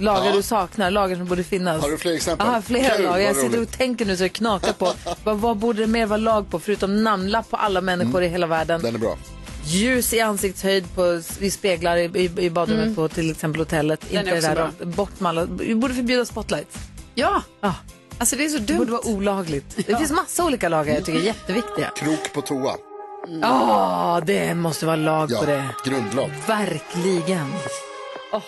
A: Lagar
C: Ja.
A: du saknar, lagar som borde finnas.
C: Har du fler exempel?
A: Jag har flera
C: Kul,
A: lagar.
C: vad
A: Jag sitter och
C: roligt.
A: tänker nu så det knakar på. vad, vad borde det mer vara lag på förutom namnlapp på alla människor i hela världen?
C: Mm. Den är bra.
A: Ljus i ansiktshöjd på, i speglar i, i, i badrummet
C: Mm.
A: på till exempel hotellet.
E: är
A: Inte det
E: också
A: där
E: bra.
A: rakt- bort med alla. Vi borde förbjuda spotlights.
E: Ja,
A: Ja.
E: alltså det är så
A: Det
E: dumt.
A: borde vara olagligt. Det finns massa olika lagar jag tycker är jätteviktiga.
C: Krok på toa.
A: Ja, det måste vara lag på
C: Mm. Ja,
A: det.
C: grundlag.
A: Verkligen. Åh.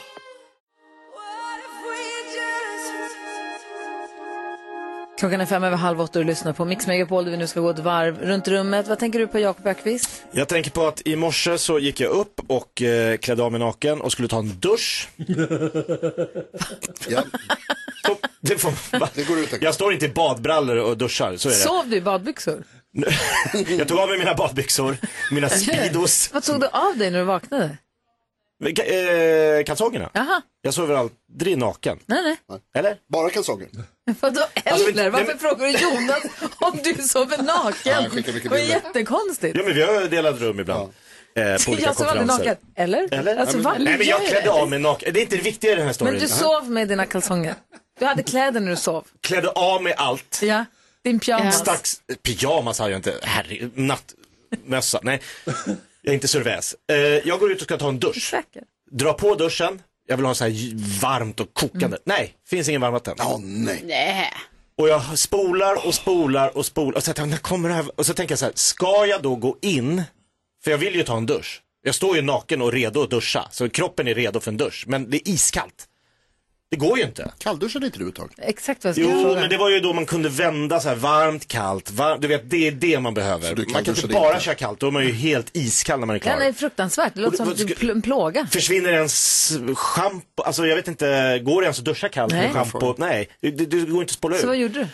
A: Klockan är fem över halv åtta och du lyssnar på Mix Megapol där vi nu ska gå ett varv runt rummet. Vad tänker du på Jakob Ökvist?
B: Jag tänker på att i morse så gick jag upp och eh, klädde av mig naken och skulle ta en dusch.
C: Ja,
B: Så, det får,
C: det går ut.
B: jag står inte i badbrallor och duschar, så är det.
A: Sov du i badbyxor?
B: Jag tog av mig mina badbyxor, mina Speedos,
A: Vad tog du av dig när du vaknade?
B: ka- eh, kalsongerna.
A: Jaha,
B: Jag sover aldrig naken.
A: nej nej.
B: Eller?
C: Bara kalsonger.
A: Vadå
B: Alltså,
A: eller?
B: men-
A: Varför
B: nej, men-
A: frågar du Jonas om du sover
C: Ja,
A: naken?
C: jag skickar mycket
A: Det var
C: bilder.
A: jättekonstigt.
B: Ja men vi har delat rum ibland. Eh, på olika
A: Jag sover aldrig
B: konferenser.
A: naken. Eller?
B: Eller?
A: Alltså,
B: Nej,
A: vad
B: men- Nej men jag
A: gör
B: klädde av mig naken. Det är inte det viktiga i den här storyn.
A: Men du sov med dina kalsonger. Du hade kläder när du sov.
B: Klädde av mig allt.
A: Ja. Din pyjamas.
B: Stax, pyjamas hade jag inte. Herre, nattmössa. Nej, jag är inte serväs. Eh, jag går ut och ska ta en dusch.
A: Säker.
B: Dra på duschen. Jag vill ha så här j- varmt och kokande. Nej, finns ingen varmvatten.
C: Åh nej.
E: Nej.
B: Och jag spolar och spolar och spolar. Och så, tänkte jag, när kommer det här? och så tänker jag så här, ska jag då gå in? För jag vill ju ta en dusch. Jag står ju naken och redo att duscha. Så kroppen är redo för en dusch. Men det är iskallt. Det går ju inte.
C: Kallduschade inte du ett tag?
A: Exakt vad jag skulle
B: Jo,
A: fråga.
B: men det var ju då man kunde vända så här varmt, kallt, varmt. Du vet, det är det man behöver.
C: Så du kan
B: man kan inte
C: duscha
B: bara
C: lite.
B: köra kallt, då är man ju helt iskall när man är
A: Ja,
B: klar.
A: nej, fruktansvärt. Det låter
B: Och
A: som
B: det-
A: att du
B: vad
A: pl- en plåga.
B: Försvinner ens schampo? Alltså jag vet inte, går det ens att duscha kallt
A: Nej.
B: med schampo? Nej, det, det det går inte att spola
A: Så vad
B: ur.
A: gjorde du?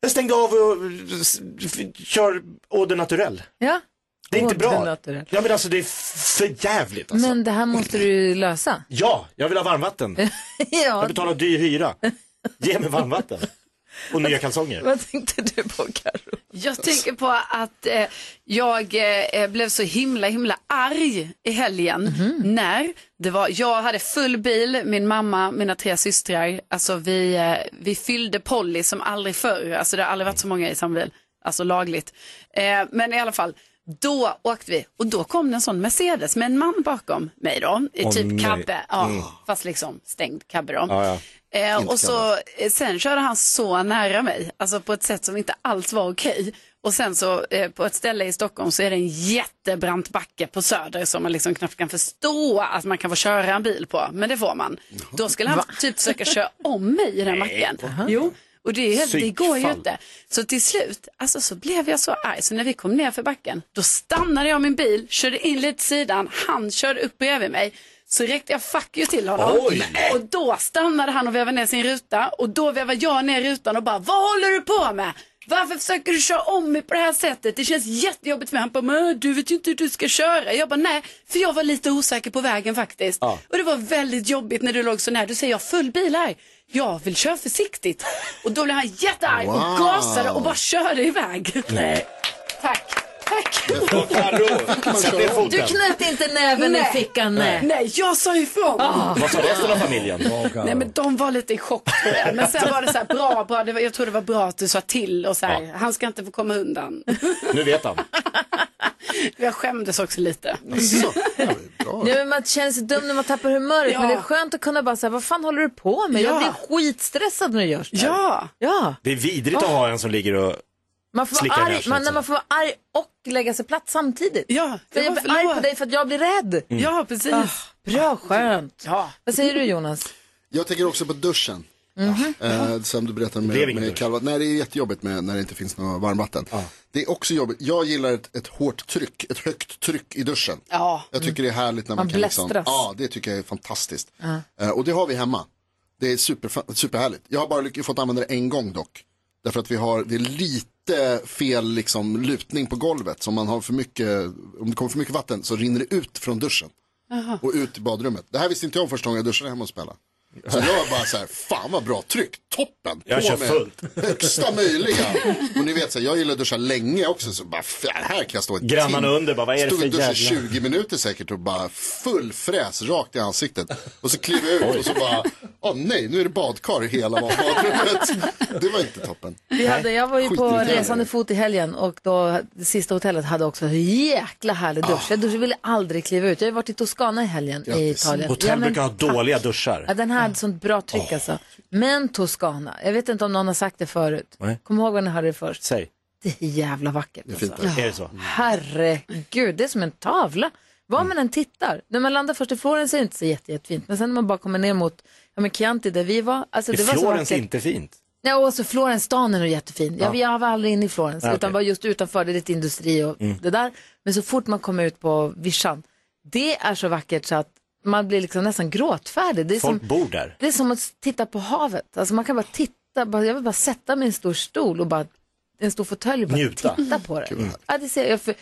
B: Jag stängde av och eh, s- f- kör eau de naturel.
A: Ja.
B: Det är inte
A: Eau de
B: bra.
A: naturel.
B: Ja men alltså det är f- för jävligt alltså.
A: Men det här måste du ju lösa.
B: Ja, jag vill ha varmvatten. Jag
A: ja,
B: betalar dyr hyra. Ge mig varmvatten. Och nya kalsonger.
A: vad tänkte du på Karo?
E: Jag tänker på att eh, jag eh, blev så himla himla arg i helgen när det var, jag hade full bil, min mamma, mina tre systrar, alltså vi, eh, vi fyllde Polly som aldrig förr, alltså det har aldrig varit så många i samma bil, alltså lagligt. Eh, men i alla fall, då åkte vi och då kom det en sån Mercedes med en man bakom mig då, i
B: Åh,
E: typ
B: nej.
E: kabbe, ja, fast liksom stängd kabbe då.
B: Ja, ja.
E: Eh, och så, eh, sen körde han så nära mig, alltså på ett sätt som inte alls var okej. Och sen så eh, på ett ställe i Stockholm så är det en jättebrant backe på Söder som man liksom knappt kan förstå att man kan få köra en bil på, men det får man. Då skulle han typ försöka köra om mig i den backen. Jo, och det, är helt, det går ju
B: Psykfall.
E: inte. Så till slut, alltså så blev jag så arg, så när vi kom ner för backen, då stannade jag min bil, körde in lite sidan, han körde upp bredvid mig. Så räckte jag fuck you till honom.
B: Oj!
E: Och då stannade han och vevade ner sin ruta och då vevade jag ner rutan och bara, vad håller du på med? Varför försöker du köra om mig på det här sättet? Det känns jättejobbigt för mig. Han bara, men du vet ju inte hur du ska köra. Jag bara, nej, för jag var lite osäker på vägen faktiskt. Och det var väldigt jobbigt när du låg så nära. Du säger, jag har full bil här. Jag vill köra försiktigt. Och då blev han jättearg
C: Wow.
E: och gasade och bara körde iväg. Nej. Tack. Tack.
B: Carro, sätt ner
A: Du
B: foten.
A: knöt inte näven
E: Nej.
A: i fickan, nej. Ah.
E: Nej, jag sa ifrån.
B: Vad sa resten av familjen?
E: Nej men de var lite i chock tror jag. Men sen var det så här bra, bra. Det var, jag tror det var bra att du sa till och så här, han ska inte få komma undan.
B: Nu vet han.
E: Jag skämdes också lite.
C: Så. Ja, bra.
A: Nej, men man känner sig dum när man tappar humöret,
E: Ja.
A: men det är skönt att kunna bara säga, vad fan håller du på med? Jag
E: Ja.
A: blir skitstressad när du gör så här."
E: Ja,
A: ja.
B: Det är vidrigt att ha en som ligger och
A: Man får,
B: Slicka
A: vara
B: ner
A: arg,
B: sig,
A: man, när
B: så.
A: man får vara arg och lägga sig platt samtidigt.
E: Ja,
A: för
E: det
A: jag
E: var-
A: blir arg på
E: förlåt.
A: dig för att jag blir rädd.
B: Mm.
E: Ja, precis.
A: Ah, bra, skönt.
E: Ja.
A: Vad säger du Jonas?
C: Jag tänker också på duschen. Eh, som du berättade
B: Det blev
C: med,
B: ingen
C: med
B: dusch.
C: kallvatten. Nej, det är jättejobbigt med, när det inte finns något varmvatten. Det är också jobbigt. Jag gillar ett, ett hårt tryck, ett högt tryck i duschen.
E: Ja.
C: Jag tycker det är härligt när man,
A: Man
C: kan liksom,
A: blästras.
C: Ja, det tycker jag är fantastiskt. Eh, och det har vi hemma. Det är super, superhärligt. Jag har bara lyck- fått använda det en gång dock. Därför att vi har, det är lite fel liksom, lutning på golvet. Så om, man har för mycket, om det kommer för mycket vatten så rinner det ut från duschen. Och ut i badrummet. Det här visste inte jag om första gången jag duschade hemma och spelade. Så jag var bara så här, fan vad bra tryck, toppen.
B: Jag
C: På
B: kör
C: med
B: fullt.
C: Högsta möjliga. Och ni vet, så här, jag gillar att duscha länge också. Så bara, fan, här kan jag stå ett
B: Grannarna
C: tim-
B: under bara, vad är det
C: Stod
B: för
C: och duschade
B: jävla-
C: 20 minuter säkert och bara full fräs rakt i ansiktet. Och så klev jag ut och så bara, åh nej, nu är det badkar i hela badrummet. Det var inte toppen.
A: Vi hade, jag var ju på
C: Skitirriterande.
A: resande fot i helgen och då, det sista hotellet hade också en jäkla härlig dusch.
B: Ah.
A: Jag dusch, ville aldrig kliva ut. Jag har ju varit i Toscana i helgen i
C: Grattis.
A: Italien.
B: Hotell
A: men
B: brukar Ah. ha
A: tack.
B: dåliga
A: Ja,
B: duschar.
A: den här hade sånt bra tryck alltså. Men Toscana, jag vet inte om någon har sagt det förut.
B: Nej.
A: Kom ihåg när ni hörde det först.
B: Säg,
A: Det är jävla vackert.
C: fint
A: alltså.
C: där.
B: är det så? Mm.
A: Herregud, det är som en tavla. Var man än tittar. När man landar först i Florens är det inte så jätte, jättefint. Men sen när man bara kommer ner mot ja, men Chianti där vi var. Alltså,
B: Är
A: det var så
B: Florens
A: vackert.
B: inte fint?
A: Ja, och så Florens, stan är nog jättefin. Jag, jag var aldrig inne i Florens,
B: Ah,
A: utan
B: okej. Mm.
A: var just utanför, det är lite industri och det där. Men så fort man kommer ut på vischan, det är så vackert så att man blir liksom nästan gråtfärdig. Det är,
B: Folk
A: som,
B: bor där.
A: det är som att titta på havet. Alltså man kan bara titta, bara, jag vill bara sätta mig i en stor stol och bara, en stor fåtölj och bara
B: Njuta.
A: titta på det. Ja, det ser, jag för,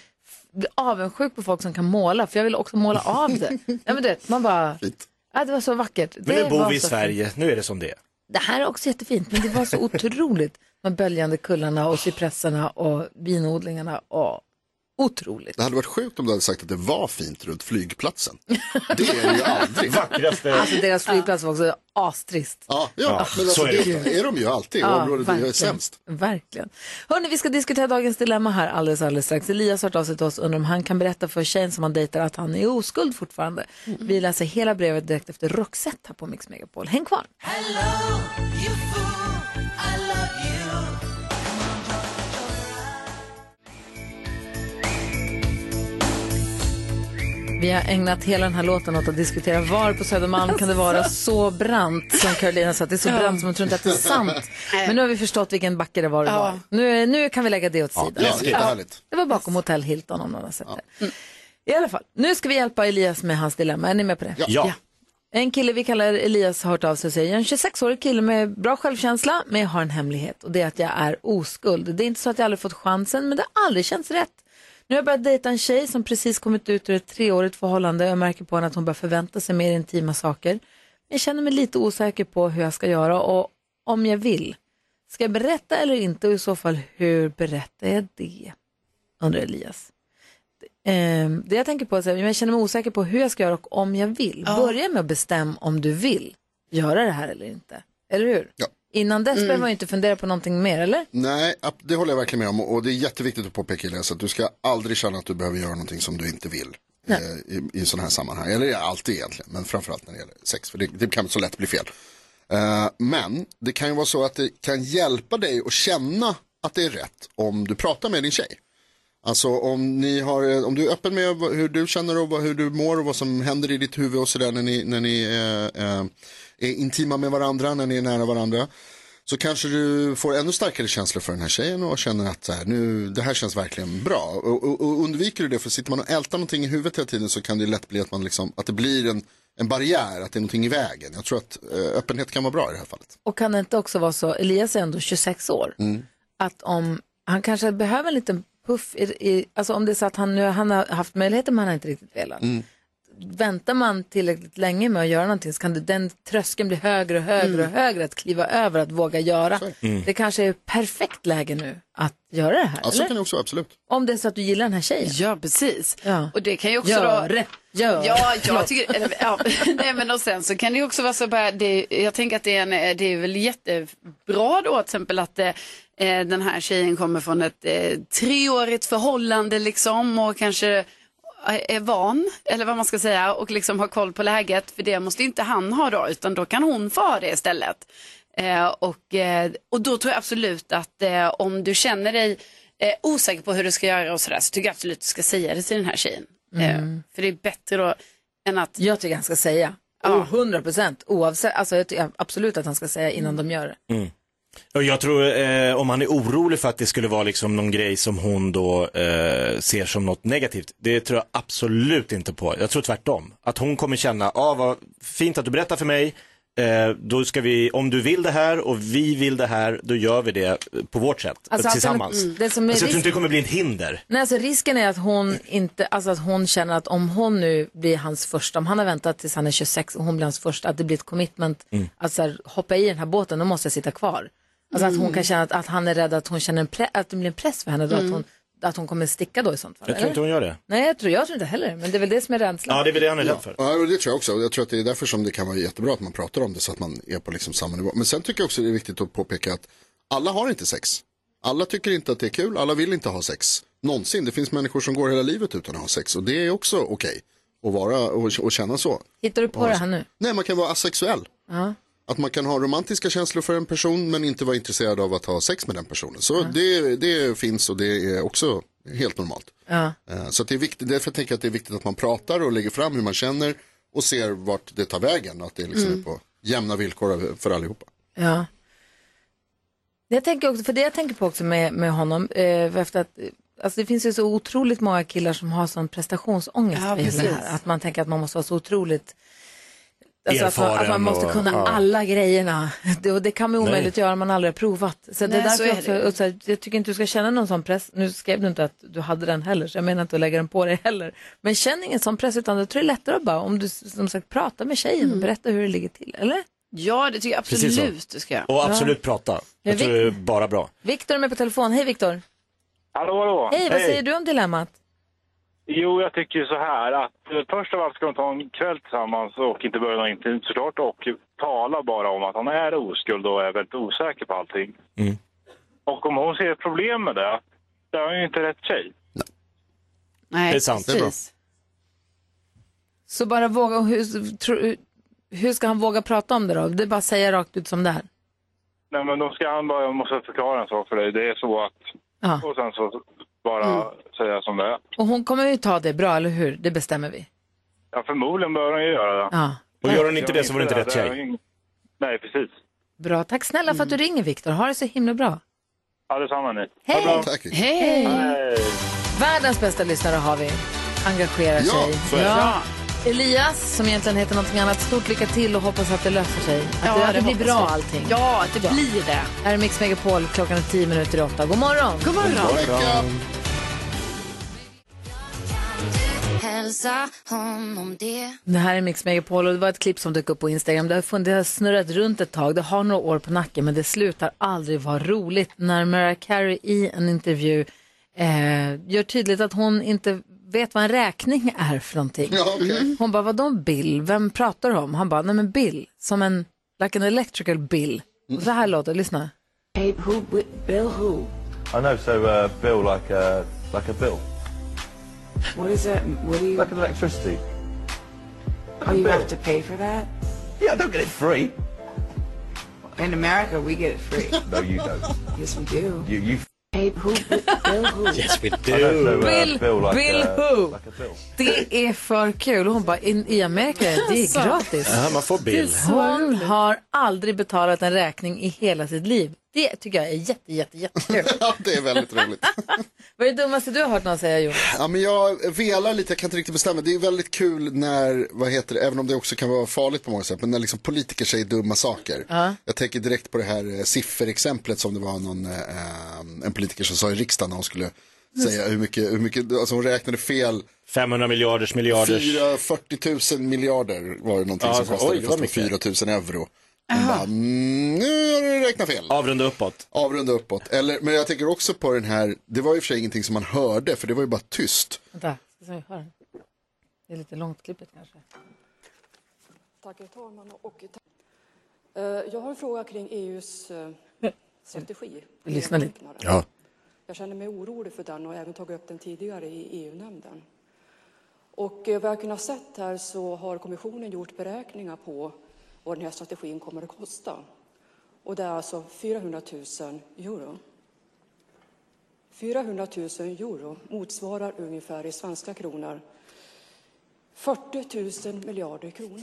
A: blir avundsjuk på folk som kan måla, för jag vill också måla av det. ja, men du vet, man bara,
C: Fint.
A: ja, det var så vackert.
B: Men
A: det
B: nu bor
A: var
B: vi i
A: så fint.
B: Sverige, nu är det som det är.
A: Det här är också jättefint, men det var så otroligt. De böljande kullarna och cypresserna och vinodlingarna. Och otroligt.
C: Det hade varit sjukt om du hade sagt att det var fint runt flygplatsen. Det är det ju aldrig.
B: Vackraste.
A: Alltså deras flygplats var också astrist.
C: Ja, ja, men
B: så
C: alltså,
B: är
C: det,
B: det
C: är de ju alltid. Ja, området där jag är sämst.
A: Verkligen. Hörni, vi ska diskutera dagens dilemma här alldeles, alldeles strax. Elias har hört av sig till oss undrar om han kan berätta för tjejen som han dejtar att han är oskuld fortfarande. Vi läser hela brevet direkt efter Roxette här på Mix Megapol. Häng kvar. Vi har ägnat hela den här låten åt att diskutera var på Södermalm kan det vara så brant som Carolina sa, att det är så brant som hon tror inte att det är sant. Men nu har vi förstått vilken backe det var det var. Nu, är- nu kan vi lägga det åt sidan.
C: Ja, jättehärligt.
A: Det var bakom Hotell Hilton om någon har sett det. I alla fall, nu ska vi hjälpa Elias med hans dilemma. Är ni med på det?
B: Ja.
A: En kille vi kallar Elias har hört av sig och säger, jag är en 26-årig kille med bra självkänsla, men jag har en hemlighet och det är att jag är oskuld. Det är inte så att jag aldrig fått chansen, men det har aldrig känts rätt. Nu har jag börjat dejta en tjej som precis kommit ut ur ett treårigt förhållande och jag märker på henne att hon börjar förvänta sig mer intima saker. Jag känner mig lite osäker på hur jag ska göra och om jag vill. Ska jag berätta eller inte och i så fall hur berättar jag det? Undrar Elias. Ehm, det jag tänker på är att jag känner mig osäker på hur jag ska göra och om jag vill. Börja med att bestämma om du vill göra det här eller inte. Eller hur?
C: Ja.
A: Innan dess behöver man ju inte fundera på någonting mer, eller?
C: Nej, ab- det håller jag verkligen med om. Och det är jätteviktigt att påpeka Elias att du ska aldrig känna att du behöver göra någonting som du inte vill. eh, I, i sådana här sammanhang. Eller alltid egentligen, men framförallt när det gäller sex. För det, det kan så lätt bli fel. Eh, men det kan ju vara så att det kan hjälpa dig att känna att det är rätt om du pratar med din tjej. Alltså om, ni har, eh, om du är öppen med vad- hur du känner och vad- hur du mår och vad som händer i ditt huvud och sådär när ni, när ni eh, eh, är intima med varandra, när ni är nära varandra. Så kanske du får ännu starkare känslor för den här tjejen och känner att så här, nu, det här känns verkligen bra. Och, och, och undviker du det, för sitter man och ältar någonting i huvudet hela tiden så kan det ju lätt bli att, man liksom, att det blir en, en barriär, att det är någonting i vägen. Jag tror att eh, öppenhet kan vara bra i det här fallet.
A: Och kan det inte också vara så, Elias är ändå 26 år, att om han kanske behöver en liten puff, i, i, alltså om det är så att han nu han har haft möjligheten men han har inte riktigt velat. Väntar man tillräckligt länge med att göra någonting så kan det, den tröskeln bli högre och högre och högre att kliva över, att våga göra. Det Mm. kanske Mm. är perfekt läge nu att göra det här,
C: Ja, så
A: eller?
C: kan det också, absolut.
A: Om det är så att du gillar den här tjejen.
E: Ja, precis.
A: Ja.
E: Och det kan ju också
A: Gör
E: då...
A: det, gör det.
E: Ja, jag tycker, eller, ja, nej men och sen så kan det ju också vara så bara, det, jag tänker att det är, en, eh, det är väl jättebra då till exempel att eh, eh, den här tjejen kommer från ett eh, treårigt förhållande liksom och kanske eh, är van, eller vad man ska säga, och liksom har koll på läget, för det måste inte han ha då, utan då kan hon få ha det istället. Eh, och, eh, och då tror jag absolut att eh, om du känner dig eh, osäker på hur du ska göra och sådär så tycker jag absolut att du ska säga det till den här tjejen. Eh, för det är bättre då än att
A: Jag tycker han ska säga.
E: Ja.
A: Oh, 100 procent. Oavsett, alltså jag tycker absolut att han ska säga innan de gör det.
B: Och jag tror, eh, om han är orolig för att det skulle vara liksom någon grej som hon då eh, ser som något negativt, det tror jag absolut inte på. Jag tror tvärtom. Att hon kommer känna, ah, vad fint att du berättar för mig, eh, då ska vi, om du vill det här och vi vill det här, då gör vi det på vårt sätt,
A: Alltså,
B: tillsammans.
A: alternativ- det som är
B: alltså, jag tror inte
A: risk-
B: det kommer bli ett hinder.
A: Nej, alltså risken är att hon inte, alltså att hon känner att om hon nu blir hans första, om han har väntat tills han är 26 och hon blir hans första, att det blir ett commitment,
B: Mm.
A: att så här, hoppa i den här båten, då måste jag sitta kvar. Alltså att hon kan känna att, att han är rädd att hon känner en pre- att det blir en press för henne då, att, hon, att hon kommer sticka då i sånt fall.
B: Jag tror
A: eller?
B: inte hon gör det.
A: Nej, jag tror, jag tror inte heller, men det är väl det som är rädslan.
B: Ja, det är väl det han är rädd för.
C: Ja, och det tror jag också. Och Jag tror att det är därför som det kan vara jättebra att man pratar om det så att man är på liksom samma nivå. Men sen tycker jag också det är viktigt att påpeka att alla har inte sex. Alla tycker inte att det är kul, alla vill inte ha sex. Någonsin. Det finns människor som går hela livet utan att ha sex och det är också okej att vara och, och känna så.
A: Hittar du på det här nu?
C: Nej, man kan vara asexuell. Att man kan ha romantiska känslor för en person men inte vara intresserad av att ha sex med den personen. Så det, det finns och det är också helt normalt. Eh, Så att det är viktigt, därför tänker jag att det är viktigt att man pratar och lägger fram hur man känner och ser vart det tar vägen. Att det liksom är på jämna villkor för allihopa.
A: Ja. Jag tänker också, för det jag tänker på också med, med honom, eh, efter att, eh, alltså det finns ju så otroligt många killar som har sån prestationsångest.
E: Ja,
A: för hela det
E: precis.
A: här, att man tänker att man måste vara så otroligt Alltså att, man, att man
B: Erfaren
A: måste
B: och-
A: kunna
B: ja.
A: alla grejerna. Det, och det kan man ju
B: Nej.
A: omöjligt göra om man aldrig har provat. Så det
E: Nej,
A: är därför
E: så är
A: jag
E: det
A: också,
E: ju.
A: och så här, jag tycker inte du ska känna någon sån press. Nu skrev du inte att du hade den heller, så jag menar inte att lägga den på dig heller. Men känn ingen sån press, utan jag tror det är lättare att bara, om du som sagt pratar med tjejen
E: Mm.
A: och berättar hur det ligger till, eller?
E: ja det tycker jag
B: Precis så.
E: absolut du ska göra.
B: Och absolut prata. Jag
A: Jag
B: tror
A: vet-
B: det är bara bra.
A: Viktor är med på telefon. Hej Viktor!
H: Hallå, hallå.
A: Hej, vad
B: Hej.
A: säger du om dilemmat?
H: Jo, jag tycker ju så här att eh, först av allt ska de ta en kväll tillsammans och inte börja något intimt såklart och tala bara om att han är oskuld och är väldigt osäker på allting.
B: Mm.
H: Och om hon ser ett problem med det, då är hon ju inte rätt tjej.
E: Nej,
B: Det är sant, det är
E: precis.
B: bra.
A: Så bara våga, och hur, tro, hur ska han våga prata om det då? Det är bara att säga rakt ut som det är.
H: Nej, men då ska han bara, jag måste förklara en sak för dig. Det är så att,
A: Ja.
H: och sen så bara
B: Mm.
H: säga som det är.
A: Och hon kommer ju ta det bra, eller hur? Det bestämmer vi.
H: Ja, förmodligen bör hon ju göra det.
A: Ja.
B: Och gör hon inte det så var det inte rätt
H: där, det är
B: tjej.
H: ing- Nej, precis.
A: Bra, tack snälla för att
B: Mm.
A: du ringer Viktor. Ha det så himla bra.
H: Allesamma ni.
A: Hej!
C: Tack.
E: Hej!
H: Hej.
A: Världens bästa lyssnare har vi. Engagerar
C: Ja,
A: sig.
B: så är det.
A: Elias, som egentligen heter någonting annat, stort lycka till och hoppas att det löser sig. Att
E: Ja,
A: det, att det
E: det
A: blir
E: hoppas
A: bra
E: vi.
A: allting.
E: Ja, det blir det.
A: Här är Mix Megapol, klockan är tio minuter i åtta. God morgon!
E: God morgon.
C: Vecka.
I: Hälsa honom det.
A: Det här är Mix Megapol och det var ett klipp som dök upp på Instagram. Det har, fun- det har snurrat runt ett tag, det har några år på nacken men det slutar aldrig vara roligt. När Mariah Carey i en intervju eh, gör tydligt att hon inte vet vad en räkning är för någonting.
C: Ja, okej.
A: Hon bara, vadå en Bill? Vem pratar du om? Han bara, nej men Bill, som en, like an electrical bill. Och så här låter det, lyssna.
J: I know, so uh, bill like a like a bill. What is that? What do you like electricity?
K: Oh, you have to pay for that?
J: Yeah, I don't get it free.
K: In America, we get it free.
J: No, you don't.
K: yes, we do.
J: You you. f-
B: Yes we
J: I know, so,
B: do.
J: uh,
A: Bill-
J: bill like
A: bill
J: a,
A: who?
J: Like a bill.
A: Det är för kul. Och hon bara, "In- i Amerika, det är gratis.
B: Ja, man får bild.
A: Hon har aldrig betalat en räkning i hela sitt liv. Det tycker jag är jätte, jätte, jättekul.
C: Ja, det är väldigt roligt.
A: Vad är det dummaste du har hört någon säga, Jonas?
C: Ja, men jag velar lite, jag kan inte riktigt bestämma. Det är väldigt kul när, vad heter det, även om det också kan vara farligt på många sätt, men när liksom politiker säger dumma saker. Jag tänker direkt på det här eh, sifferexemplet som det var någon, eh, eh, en politiker som sa i riksdagen när hon skulle säga hur mycket, hur mycket, alltså hon räknade fel,
B: 500 miljarders miljarders.
C: 4, 40 000 miljarder var det någonting
B: Ja,
C: som
B: så-
C: kostade,
B: oj, det
C: det
B: var
C: kostade
B: mycket.
C: 4 000 euro. Hon bara, "Mm, nu har du räknat fel.
B: Avrunda uppåt.
C: Avrunda uppåt. Eller, men jag tänker också på den här, det var i och för sig ingenting som man hörde, för det var ju bara tyst.
A: Vänta, ska se om jag hör den. Det är lite långt klippet kanske.
K: Tack, herr talman. Och tack. Eh, Jag har en fråga kring EUs eh, strategi.
A: Vi lyssnar lite.
C: Ja.
K: Jag känner mig orolig för den och har även tagit upp den tidigare i EU-nämnden. Och eh, vad jag kunnat sett här så har kommissionen gjort beräkningar på vad den här strategin kommer att kosta. Och det är alltså 400 000 euro. 400 000 euro motsvarar ungefär i svenska kronor 40 000 miljarder kronor.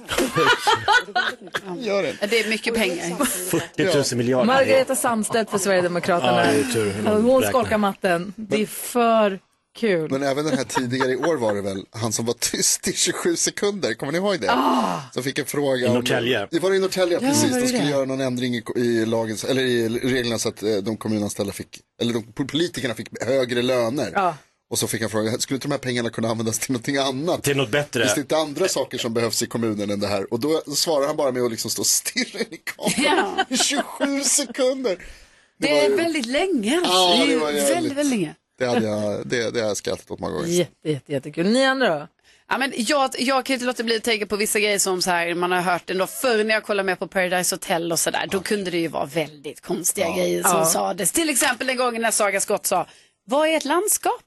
E: Gör det. Det är mycket pengar.
B: 40 000 miljarder.
A: Margareta Sandstedt för Sverigedemokraterna.
B: Ja, det är typ tur hur de
A: Hon
B: räknar.
A: skakar matten. Det är för kul.
C: Men även den här tidigare i år var det väl, han som var tyst i 27 sekunder, kommer ni ihåg det?
A: Ah!
C: Som fick en fråga.
B: I Norrtälje.
C: Om, det var i Norrtälje,
A: Ja,
C: precis.
A: var
C: De
A: det
C: skulle
A: det?
C: göra någon ändring i, i, lagens, eller i reglerna så att eh, de kommunanställda fick, eller de politikerna fick högre löner.
A: Ja.
C: Och så fick han frågan, skulle inte de här pengarna kunna användas till någonting annat?
B: Till något bättre.
C: Finns det inte andra saker som behövs i kommunen än det här? Och då svarar han bara med att liksom stå och stirra in i kameran i 27 sekunder.
E: Det är väldigt länge. Alltså.
C: Ja,
E: det är
C: det
E: ju
C: var
E: väldigt,
C: jävligt.
E: väldigt, länge.
C: Det, hade jag, det, det har jag skrattat åt många gånger.
A: Jätte, jätte, jättekul. Ni andra då?
E: Ja, men jag, jag kan inte låta bli att tänka på vissa grejer som så här, man har hört ändå. Förr när jag kollade med på Paradise Hotel och sådär, då kunde det ju vara väldigt konstiga grejer som
A: Ja.
E: sades. Till exempel den gången när Saga Skott sa, vad är ett landskap?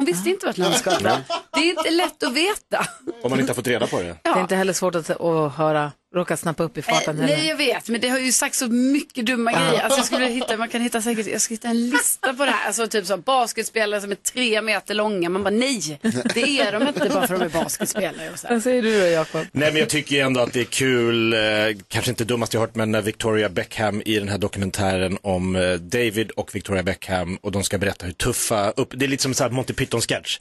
E: Hon visste inte vad ett landskap var. Det är inte lätt att veta.
B: Om man inte har fått reda på det.
A: Det är inte heller svårt att, att höra, råka snappa upp i farten heller.
E: Eh, Nej, jag vet, men det har ju sagt så mycket dumma grejer. Alltså, jag skulle vilja hitta, man kan hitta säkert, jag ska hitta en lista på det här. Alltså typ så här, basketspelare som är tre meter långa. Man bara nej, det är de inte bara för att de är basketspelare. Och så här.
A: Vad säger du då, Jakob?
B: Nej men jag tycker ju ändå att det är kul, eh, kanske inte dummast jag hört men när Victoria Beckham i den här dokumentären om eh, David och Victoria Beckham och de ska berätta hur tuffa, upp, det är lite som en Monty Python sketch.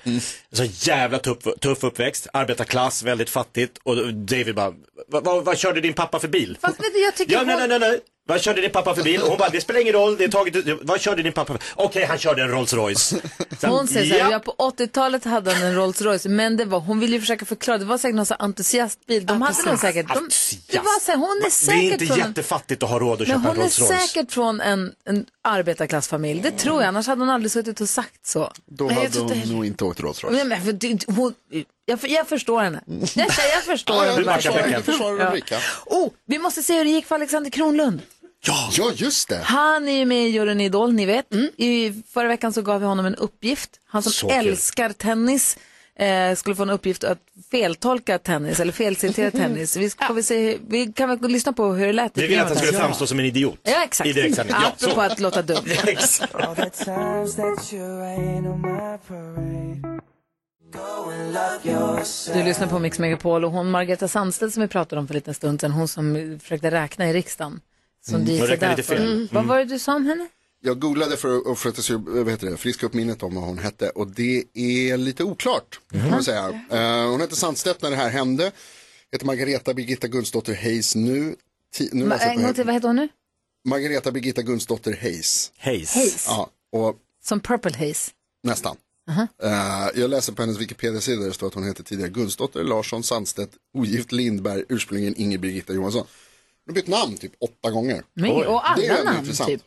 B: Så jävla tuff, tuff uppväxt, arbetarklass, väldigt fattigt och David bara, "Va- va- vad körde din pappa för bil?
A: Fast vet du, jag tycker
B: Ja,
A: hon-
B: nej, nej, nej, nej. Vad körde din pappa för bil? Och hon bara, det spelar ingen roll, det är taget ut- Vad körde din pappa för? Okej, han körde en Rolls Royce. Sen,
A: Hon säger så här,
B: "Ja."
A: ja, på 80-talet hade han en Rolls Royce, men det var, hon ville ju försöka förklara, det var säkert någon sån här entusiastbil. De hade nog säkert, de, det var så här, hon är
B: det är
A: säkert
B: inte
A: från en,
B: jättefattigt att ha råd
A: men
B: att köpa en
A: hon är
B: Rolls Royce.
A: säkert från en, en arbetarklassfamilj, det tror jag, annars hade hon aldrig suttit och sagt så.
C: Då
E: jag
C: hade
E: tror inte
C: hon
E: heller-
C: nog inte åkt Rolls Royce.
A: Men, men, för, det- hon, jag, jag förstår henne. Jag, säger, jag förstår
C: Ja,
A: henne
C: du
B: backar
A: verkligen.
B: Beckham.
C: försvarar, du försvarar Ulrika.
A: Oh, vi måste se hur det gick för Alexander Kronlund.
C: Ja, just det.
A: Han är ju med i juryn i Idol, ni vet. I förra veckan så gav vi honom en uppgift. Han som
B: Mm. Så kul.
A: älskar tennis eh, skulle få en uppgift att feltolka tennis eller felcitera tennis. Vi, ska, får vi, se, vi kan väl gå och lyssna på hur det lät. i
B: Vi ville att han
A: programmet
B: skulle
A: här?
B: framstå som en idiot.
A: Ja, exakt. Mm.
B: I direktsändning. Ja,
A: Apropå
B: så.
A: att låta dum.
B: Exakt.
A: Du lyssnar på Mix Megapol och hon Margareta Sandstedt som vi pratade om för en liten stund sedan, hon som försökte räkna i riksdagen. Som du
B: Mm. Hon
A: gissade
B: räknade
A: där
B: lite
A: för.
B: fel.
A: Mm.
B: Mm.
A: Vad var det du sa om henne?
C: Jag googlade för att, för att jag skulle, vad heter det, friska upp minnet om vad hon hette och det är lite oklart. Kan
A: Mhm.
C: man säga. Eh, hon hette Sandstedt när det här hände. Heter Margareta Birgitta Gunsdotter Hayes nu. Ti, nu
A: Ma-
C: läser jag på
A: en gång
C: här.
A: till, vad heter hon nu?
C: Margareta Birgitta Gunsdotter Hayes.
B: Hayes.
C: Ja, och
A: Som Purple Haze.
C: nästan.
A: Mhm.
C: Eh, jag läser på hennes Wikipedia-sida där det står att hon heter tidigare Gunsdotter Larsson Sandstedt, ogift Lindberg, ursprungligen Inger Birgitta Johansson. Hon har bytt namn typ åtta gånger.
A: Men, och
C: det är
A: alla
C: ändå
A: namn
C: intressant.
A: typ.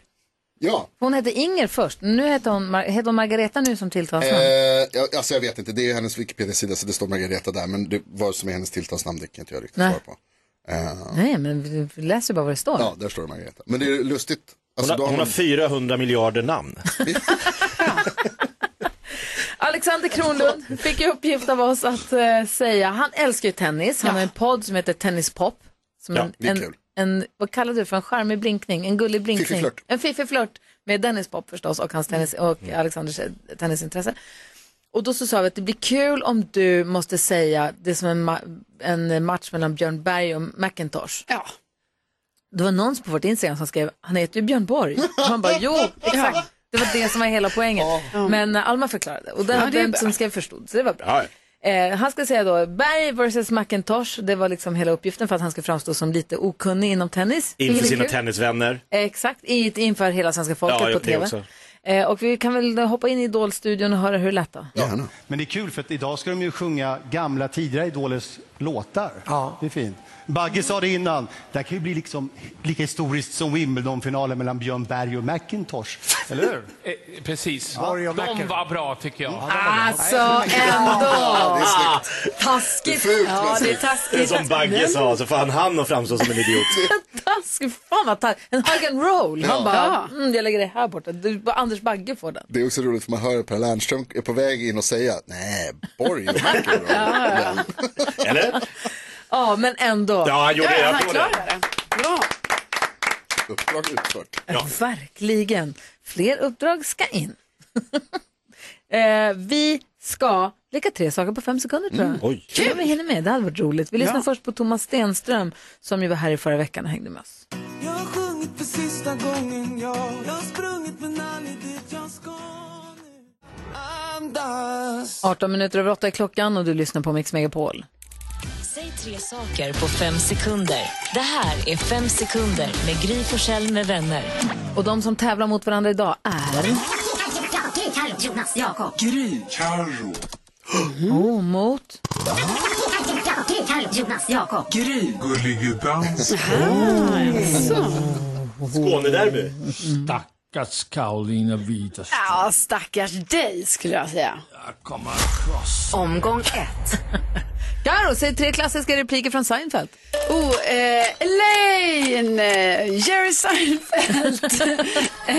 C: Ja,
A: Hon hette Inger först, nu heter hon, Mar- heter hon Margareta nu som tilltalsnamn.
C: Eh, jag, alltså jag vet inte, det är hennes Wikipedia-sida så det står Margareta där, men det, vad som är hennes tilltalsnamn det kan inte jag riktigt
A: Nej.
C: svara på. Eh,
A: Nej, men vi- vi läser bara vad det står.
C: ja, där står det Margareta. Men det är lustigt.
B: Hon
C: Alltså,
B: har,
C: då har
B: hon har
C: man,
B: 400 miljarder namn.
A: Alexander Kronlund fick i uppgift av oss att eh, säga, han älskar ju tennis, han har en podd som heter Tennispop. Som
B: Ja,
A: en,
C: det är
A: en,
C: kul.
A: en, vad kallar du för en charmig blinkning, en gullig blinkning?
C: Fiffig-flört.
A: En fiffig flört med Dennis Pop förstås och, hans tennis,
C: Mm.
A: och Alexanders eh, tennisintresse. Och då så sa vi att det blir kul om du måste säga det är som en, ma- en match mellan Björn Berg och McIntosh.
E: Ja.
A: Det var någon på vårt Instagram som skrev, han heter ju Björn Borg. Och man bara, jo, exakt. Det var det som var hela poängen. Men eh, Alma förklarade och den,
E: det är
A: den
E: bra.
A: som skrev förstod, så det var bra.
B: Ja.
A: Eh, han ska säga då, Berg versus McIntosh, det var liksom hela uppgiften för att han ska framstå som lite okunnig inom tennis.
B: Inför
A: Vilket är
B: sina
A: kul.
B: tennisvänner.
A: Exakt, i- inför hela svenska folket
B: Ja, jag-
A: på
B: det
A: TV.
B: också.
A: Eh, och vi kan väl hoppa in i Idol-studion och höra hur det lät då.
C: gärna.
I: Men det är kul för att idag ska de ju sjunga gamla tidigare Idolers låtar.
D: Ja.
I: Det är fint. Bagge sa det innan, det här kan ju bli liksom lika historiskt som Wimbledonfinalen mellan Björn Berg och McIntosh. Eller hur?
L: Precis.
D: Sorry, jag märker.
L: De var bra tycker jag.
A: Alltså ändå!
C: Det är snyggt.
A: Taskigt!
C: Fult,
A: Ja,
C: men
A: det är
B: Det är
A: taskigt.
B: som Bagge sa, så fan han att framstå som en idiot.
A: Taskigt, fan vad taskigt. En hug and roll. Han
C: Ja.
A: bara,
E: Ja.
A: mm, jag lägger det här borta. Du, bara Anders Bagge får den.
C: Det är också roligt för man hör Per Lernström är på väg in och säga nej, Borg och McEnroe.
B: Eller?
A: Ja, men ändå.
B: Ja, han gjorde det.
E: Ja,
B: Jag
E: han
B: tror det.
E: klarade det. Bra.
C: Uppdrag utfört.
A: Verkligen. Fler uppdrag ska in. eh, vi ska leka tre saker på fem sekunder tror jag.
M: Mm, oj.
A: Kul! Vi hinner med, det hade varit roligt. Vi lyssnar
M: Ja.
A: först på Thomas Stenström som ju var här i förra veckan och hängde med oss.
M: Jag har sjungit för sista gången, ja. Jag har sprungit med Nanny dit jag ska nu. Andas.
A: 18 minuter över 8 är klockan och du lyssnar på Mix Megapol.
F: Säg tre saker på fem sekunder. Det här är Fem sekunder med Gry Forssell med vänner.
A: Och de som tävlar mot varandra idag är...
F: Jonas, Jakob.
M: Gry. Carro.
A: Oh, mot...
M: Jonas. Jakob. Gry. Gullige dans.
B: Skånederby.
D: Stackars Karolina Widerström.
E: Ja, stackars dig skulle jag säga.
F: Omgång ett.
A: Karo, säg tre klassiska repliker från Seinfeld.
E: Oh, eh, Elaine, eh, Jerry Seinfeld. eh,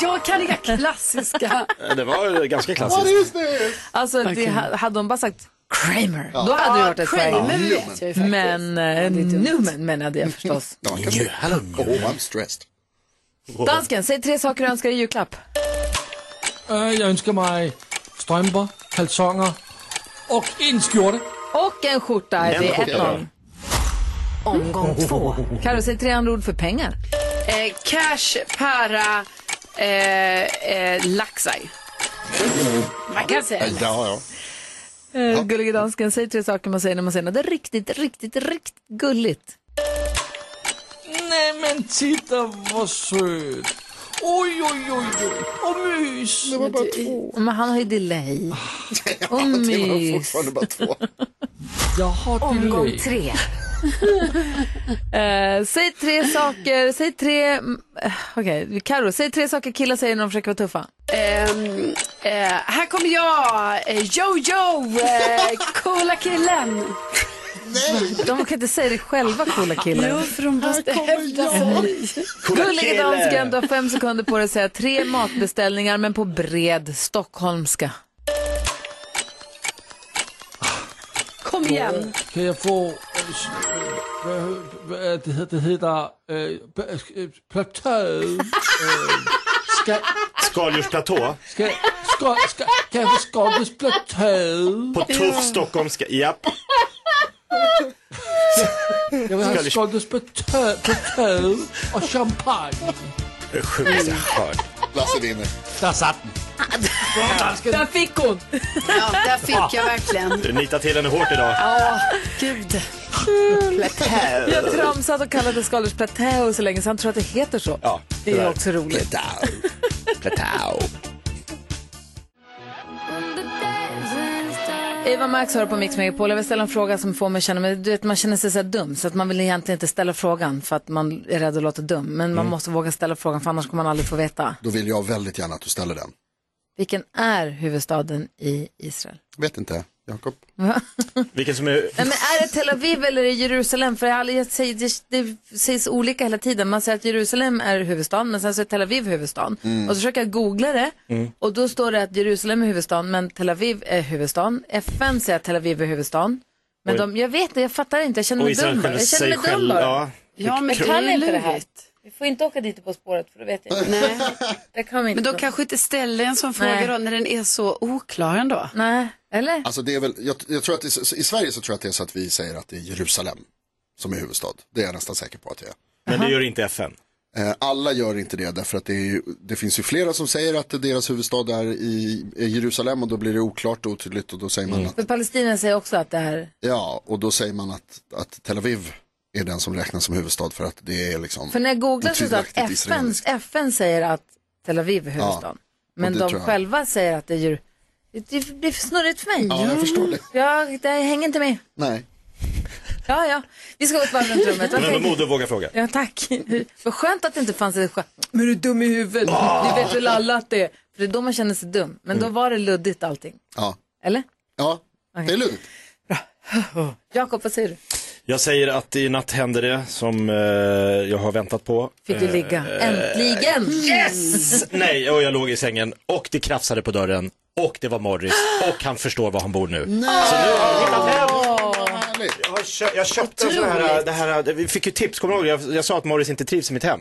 E: jag kan inga klassiska.
B: Det var ganska
E: What
B: klassiskt.
E: is
A: Alltså, det,
E: Verkligen.
A: ha- hade de bara sagt Kramer,
E: Ja.
A: då hade det
E: Ja,
A: varit ett
E: Kramer
A: poäng.
E: vet jag ju faktiskt.
A: Men eh, Newman menade jag förstås.
C: Dansken. Oh, I'm stressed.
A: Dansken, säg tre saker du önskar i julklapp.
D: Øh, jeg ønsker mig strømper, kalsonger og en skjorte.
A: Och en skjorta.
D: En
A: det är
D: skjorta,
A: 1-0. Omgång två. Karo, säg tre andra ord för pengar.
E: Eh, cash, para, eh, eh, laxaj. Man kan säga lax.
C: Ja,
A: Eh, gullige dansken, säg tre saker man säger när man säger något riktigt, riktigt, riktigt gulligt.
D: Nej, men titta hvor sødt. Oj, oj, oj, oj. Og mys.
A: Det var bara två. Men han har ju delay. Och mys.
D: Jeg har
A: Omgång
D: delay.
A: tre. Eh, säg tre saker, säg tre... mm, eh, Okej, okay. Karo, säg tre saker killar säger när de försöker vara tuffa.
E: Ehm, eh, här kommer jag, eh, Jojo, eh, coola killen.
A: De kan inte säga det själva, coola killen.
E: Jo, för de måste hävda sig.
M: Coola
A: Gullige
M: killen.
A: dansken, du har fem sekunder på dig att säga tre matbeställningar men på bred stockholmska.
E: Kom igen.
D: Kan jeg få... øh, s- øh, Hvad, hvad er det hedder? Det hedder... Øh, b- øh, platøjet. Øh, skal...
B: Skaldjursplatå.
D: Skal... Skal... Skal... Kan jeg få skoltesplatøjet?
B: På tuff stockholmska. Japp.
D: Jeg vil have
B: Skal-
D: skoltesplatøjet og champagne.
B: Det är sjukt jag har hört.
C: Lasse vinner.
D: Der satte den.
A: Där fick hon!
E: Ja, där fick jag verkligen.
B: Du nitar till henne hårt idag.
E: Ja, gud.
A: Jag har tramsat och kallat det skaldjursplatå så länge så han tror att det heter så.
B: Ja,
A: det är också roligt.
B: Platå.
A: Eva Max hör på Mix Megapol. Jag vill ställa en fråga som får mig känna mig, du vet man känner sig så här dum så att man vill egentligen inte ställa frågan för att man är rädd att låta dum. Men man
C: Mm.
A: måste våga ställa frågan för annars kommer man aldrig få veta.
C: Då vill jag väldigt gärna att du ställer den.
A: Vilken är huvudstaden i Israel?
C: Vet inte, Jakob.
B: Vilken som är...
A: Nej, men är det Tel Aviv eller är det Jerusalem? För jag har aldrig- jag säger, det, det sägs olika hela tiden. Man säger att Jerusalem är huvudstaden men sen så är Tel Aviv huvudstaden.
M: Mm.
A: Och så försöker jag googla det
M: Mm.
A: och då står det att Jerusalem är huvudstaden men Tel Aviv är huvudstaden. FN säger att Tel Aviv är huvudstaden. Men
B: Oj.
A: de, jag vet inte, jag fattar inte, jag känner
B: Och
A: mig
B: Israel
A: dum bara. Jag
B: själv
A: känner mig
B: sig
A: dum
B: själv,
A: bara.
B: ja.
E: Ja, men
A: Jag kan inte det här. Vi får inte åka dit På spåret, för då vet jag
E: Nej.
A: Det kan vi inte.
E: Men de kanske inte ställer en sån fråga
A: Nej.
E: då när den är så oklar ändå.
A: Nej, eller?
C: Alltså det är väl, jag, jag tror att i, S- i Sverige så tror jag att det är så att vi säger att det är Jerusalem som är huvudstad. Det är jag nästan säker på att det är.
B: Men det gör inte FN.
C: Eh, Alla gör inte det därför att det, är ju, det finns ju flera som säger att deras huvudstad är i är Jerusalem och då blir det oklart och otydligt och då säger man att,
A: För Palestina säger också att det här,
C: ja, och då säger man att, att Tel Aviv är den som räknas som huvudstad för att det är liksom
A: för när jag googlar så står det att
C: otvivelaktigt
A: FN,
C: israeliskt.
A: FN säger att Tel Aviv är huvudstaden.
C: och
A: men
C: det
A: de
C: tror jag.
A: själva säger att det är ju, det blir för snurrigt för mig.
C: Ja, jag förstår det.
A: Jag, det hänger inte med.
C: Nej.
A: Ja, ja, vi ska gå ett varv runt rummet. Vad
B: Men ändå
A: tänker-
B: modig att våga fråga.
A: Ja, tack. Vad skönt att det inte fanns ett skämt. Men är du dum i huvudet? Ni vet väl alla att det är. För det är då man känner sig dum. Men då var det luddigt allting.
C: Ja.
A: Eller?
C: Ja, det är luddigt.
A: Jakob, vad säger du?
B: Jag säger att i natt hände det som eh, jag har väntat på.
A: Fick du ligga?
B: Eh,
A: Äntligen! Yes!
B: Nej, och jag låg i sängen och det krafsade på dörren och det var Morris och han förstår var han bor nu. Så nu har jag hittat hem. Jag, har kö- jag köpte en sån här, det här, vi fick ju tips, kommer du ihåg? Jag, jag sa att Morris inte trivs i mitt hem.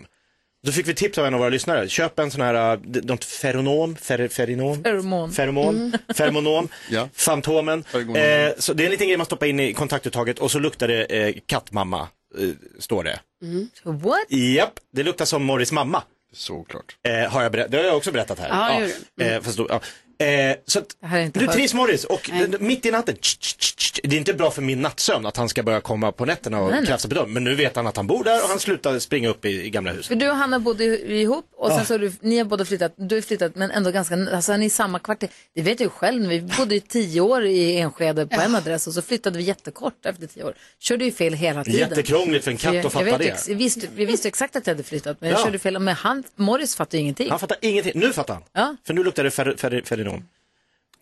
B: Då fick vi tips av en av våra lyssnare. Köp en sån här, äh, d- något feronom, fer, ferinom,
A: Feromon.
B: feromon, fermonom, fantomen. Eh, så det är en liten grej man stoppar in i kontaktuttaget och så luktar det eh, kattmamma, eh, står det.
A: Mm. What?
B: Japp, det luktar som Morris mamma.
C: Såklart.
B: Eh, har jag berätt- det har jag också berättat här.
A: Ja, det gjorde du. Mm.
B: eh, fast då, ja. eh, så att,
A: Det här är inte
B: du
A: hört.
B: trivs Morris och
A: Nej.
B: d- d- mitt i natten, tsch, tsch, tsch, tsch. det är inte bra för min nattsömn att han ska börja komma på nätterna
A: Nej,
B: och
A: nej.
B: krafsa på dörren. Men nu vet han att han bor där och han slutar springa upp i, i gamla huset.
A: För du och Hanna bodde ju ihop och sen
B: Ja.
A: så har du, ni har båda flyttat, du har flyttat men ändå ganska, alltså ni är i samma kvarter. Det vet jag ju själv, vi bodde ju tio år i Enskede på en adress och så flyttade vi jättekort efter tio år. Körde ju fel hela tiden.
B: Jättekrångligt för en katt
A: jag,
B: att fatta
A: jag vet,
B: det.
A: Ex, vi, visste, vi visste exakt att jag hade flyttat men jag
B: Ja.
A: körde fel, men han, Morris fattade ju ingenting.
B: Han fattar ingenting. Nu fattar han. För nu luktar det fer, fer, ferinom.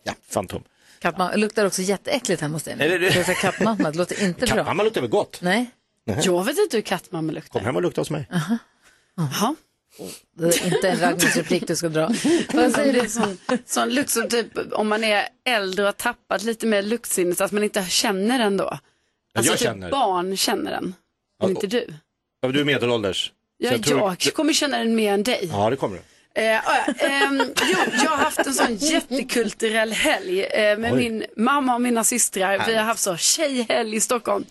B: Ja, fantom.
A: Kattmamma, luktar också jätteäckligt hemma hos dig. nu.
B: Eller-
A: Det luktar kattmamma, det låter inte bra.
B: Kattmamma luktar väl gott?
A: Nej.
B: Nej.
E: Jag vet inte hur kattmamma luktar.
B: Kom hem och lukta hos mig.
E: Jaha.
A: Det är inte en raggningsreplik du ska dra.
E: Vad säger du? Sån, sån lukt som typ om man är äldre och har tappat lite mer luktsinnet, så att man inte känner den då. Alltså
B: jag
E: typ
B: känner.
E: barn känner den, men
B: Ja,
E: inte du.
B: Ja, Du är medelålders.
E: Ja,
B: Så
E: jag,
B: tror-
E: kommer känna den mer än dig.
B: Ja, det kommer du.
E: Eh, ja, ehm, jo, jag har haft en sån jättekulturell helg eh, med
B: Oj.
E: min mamma och mina systrar. Vi
B: Härligt.
E: har haft så tjejhelg i Stockholm.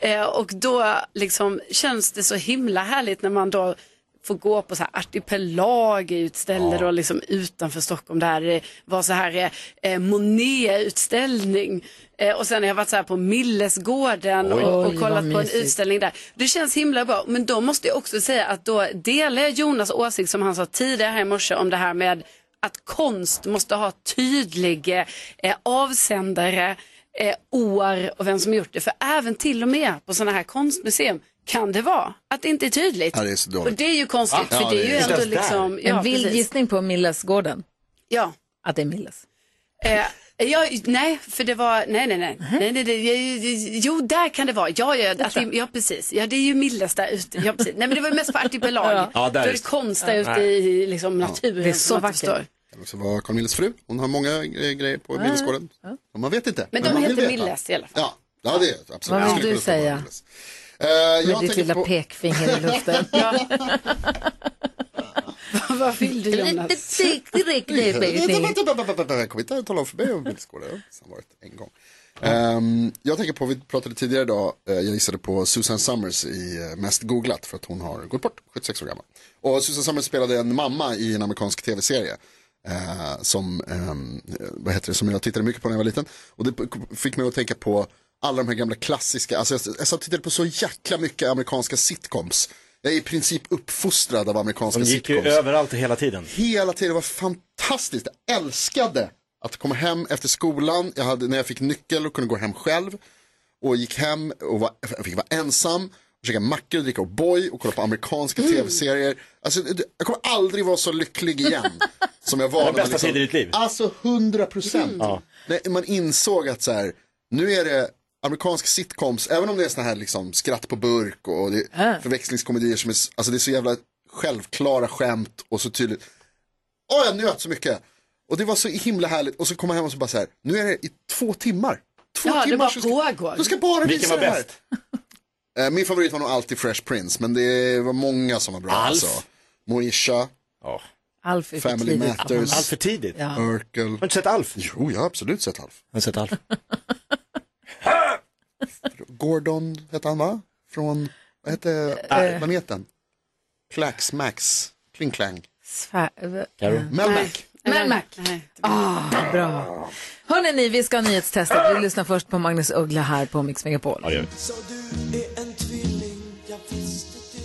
E: Eh, och då liksom känns det så himla härligt när man då får gå på så här artipelager utställningar och liksom utanför Stockholm där det var så här eh, Monet-utställning. Eh, och sen har jag varit så här på Millesgården
A: Oj.
E: och,
A: Oj,
E: och
A: vad
E: kollat på en
A: mysigt.
E: utställning inställning där. Det känns himla bra. Men då måste jag också säga att då delar jag Jonas åsikt som han sa tidigare här i morse om det här med att konst måste ha tydlig eh, avsändare, eh, år och vem som gjort det. För även till och med på sådana här konstmuseum kan det vara att det inte är tydligt.
C: Ja, det är så dåligt.
E: och det är ju konstigt
C: Ja,
E: för det är ju
C: det är-
E: ändå
C: Inte ens där.
E: liksom...
A: en vild
E: precis.
A: gissning på Millesgården.
E: Ja.
A: Att det är Milles.
E: Eh, ja, nej, för det var, nej, nej, nej, nej, nej, nej jo, jo, där kan det vara, ja, ja, att det, ja precis, ja, det är ju Milles där ute, ja, precis. nej, men det var ju mest på artipelag,
C: Ja. Ja, där
E: då är
C: just.
E: det konst där ute
C: Nej.
E: i liksom, naturen.
A: Det är så
E: som man inte
A: vackert.
E: förstår.
C: kan också vara Carl Milles fru. Hon har många eh, grejer på Millesgården. som Man vet inte.
E: Men de
C: man vill
E: heter
C: veta.
E: Milles i alla fall.
C: Ja, ja det är absolut.
A: Vad vill
C: Skulle
A: du
C: kunna stå på
A: säga?
C: Milles. Eh, jag
A: Med ditt
C: tänker
A: lilla
C: på-
A: pekfinger i luften.
E: Vad vill du Jonas?
C: Jag kommer inte tala om för mig om Millesgården. Jag har sen varit en gång. Ehm, jag tänker på, vi pratade tidigare idag, eh, jag gissade på Susan Summers i eh, mest googlat för att hon har gått bort, 76 år gammal. Och Susan Summers spelade en mamma i en amerikansk tv-serie. eh, som, ehm, eh, vad heter det, som jag tittade mycket på när jag var liten. Och det p- fick mig att tänka på alla de här gamla klassiska, alltså jag, jag satt och tittade på så jäkla mycket amerikanska sitcoms. Jag är i princip uppfostrad av amerikanska
B: De gick ju
C: sitcoms.
B: överallt hela tiden.
C: Hela tiden, det var fantastiskt. Jag älskade att komma hem efter skolan. Jag hade, när jag fick nyckel och kunde gå hem själv. Och gick hem och var, jag fick vara ensam. Och käka mackor, och dricka O'boy och kolla på amerikanska
B: Mm.
C: tv-serier. Alltså, det- jag kommer aldrig vara så lycklig igen. som jag var.
B: Det var
C: när man
B: bästa tiden i ditt liv. Mm.
C: Alltså 100 procent.
B: Ja.
C: När man insåg att så här, nu är det amerikansk sitcoms, även om det är såna här liksom skratt på burk och det, förväxlingskomedier som är, s- alltså det är så jävla självklara skämt och så tydligt. Åh, jag njöt så mycket. Och det var så himla härligt och så kom jag hem och så bara så här, nu är det i två timmar. Två
E: Ja, det
C: timmar
E: bara
C: så ska,
E: pågår.
C: så ska jag bara
B: Vilken
C: visa
B: var
C: det här.
B: bäst?
C: Eh, Min favorit var nog alltid Fresh Prince, men det var många som var bra.
B: Alf.
C: Alltså. Moisha,
A: Alf är för
C: Family
A: tidigt.
C: Matters.
B: Allt för tidigt.
A: Ja.
C: Urkel. Har
B: du sett Alf?
C: Jo, jag har absolut sett Alf.
B: Jag har sett Alf.
C: Gordon hette han va? Från, vad hette äh, planeten? Klax, Max, Kling Klang.
A: Svär-
C: Melmac.
E: Men Mac,
A: Ah, bra. Hörrni, ni, vi ska ha nyhetstestet. Vi lyssnar först på Magnus Uggla här på Mix Megapol.
M: Så du är en tvilling, jag visste det.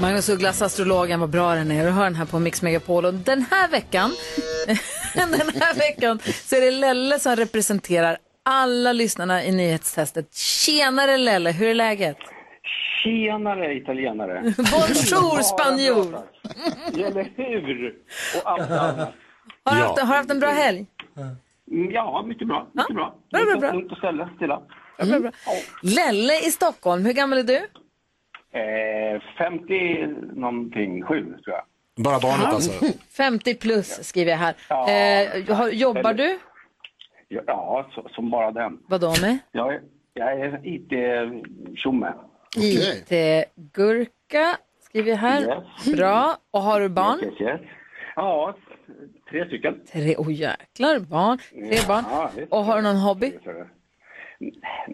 A: Magnus Ugglas astrologen, vad bra den är. Du hör den här på Mix Megapol. Och den här veckan, den här veckan så är det Lelle som representerar alla lyssnarna i nyhetstestet. Tjenare Lelle, hur är läget?
N: Tjenare italienare!
A: Bonjour spanjor!
N: Eller hur? Och allt annat.
A: Har du haft, har du haft en bra helg?
N: Mm, Ja, mycket bra. Mycket bra.
A: Bra, bra, bra.
N: Lugnt och ställe, stilla.
A: Mm. Lelle i Stockholm, hur gammal är du?
N: Eh, 50 någonting, 7 tror jag.
B: Bara barnet alltså.
A: 50 plus skriver jag här. Eh, har, jobbar du?
N: Ja, så, som bara den.
A: Vadå med?
N: Jag är, jag är IT-tjomme.
A: IT-gurka skriver jag här.
N: Yes.
A: Bra. Och har du barn?
N: Yes, yes, yes. Ja, tre stycken.
A: Tre, oh jäklar, barn. Tre barn. Och har du någon hobby?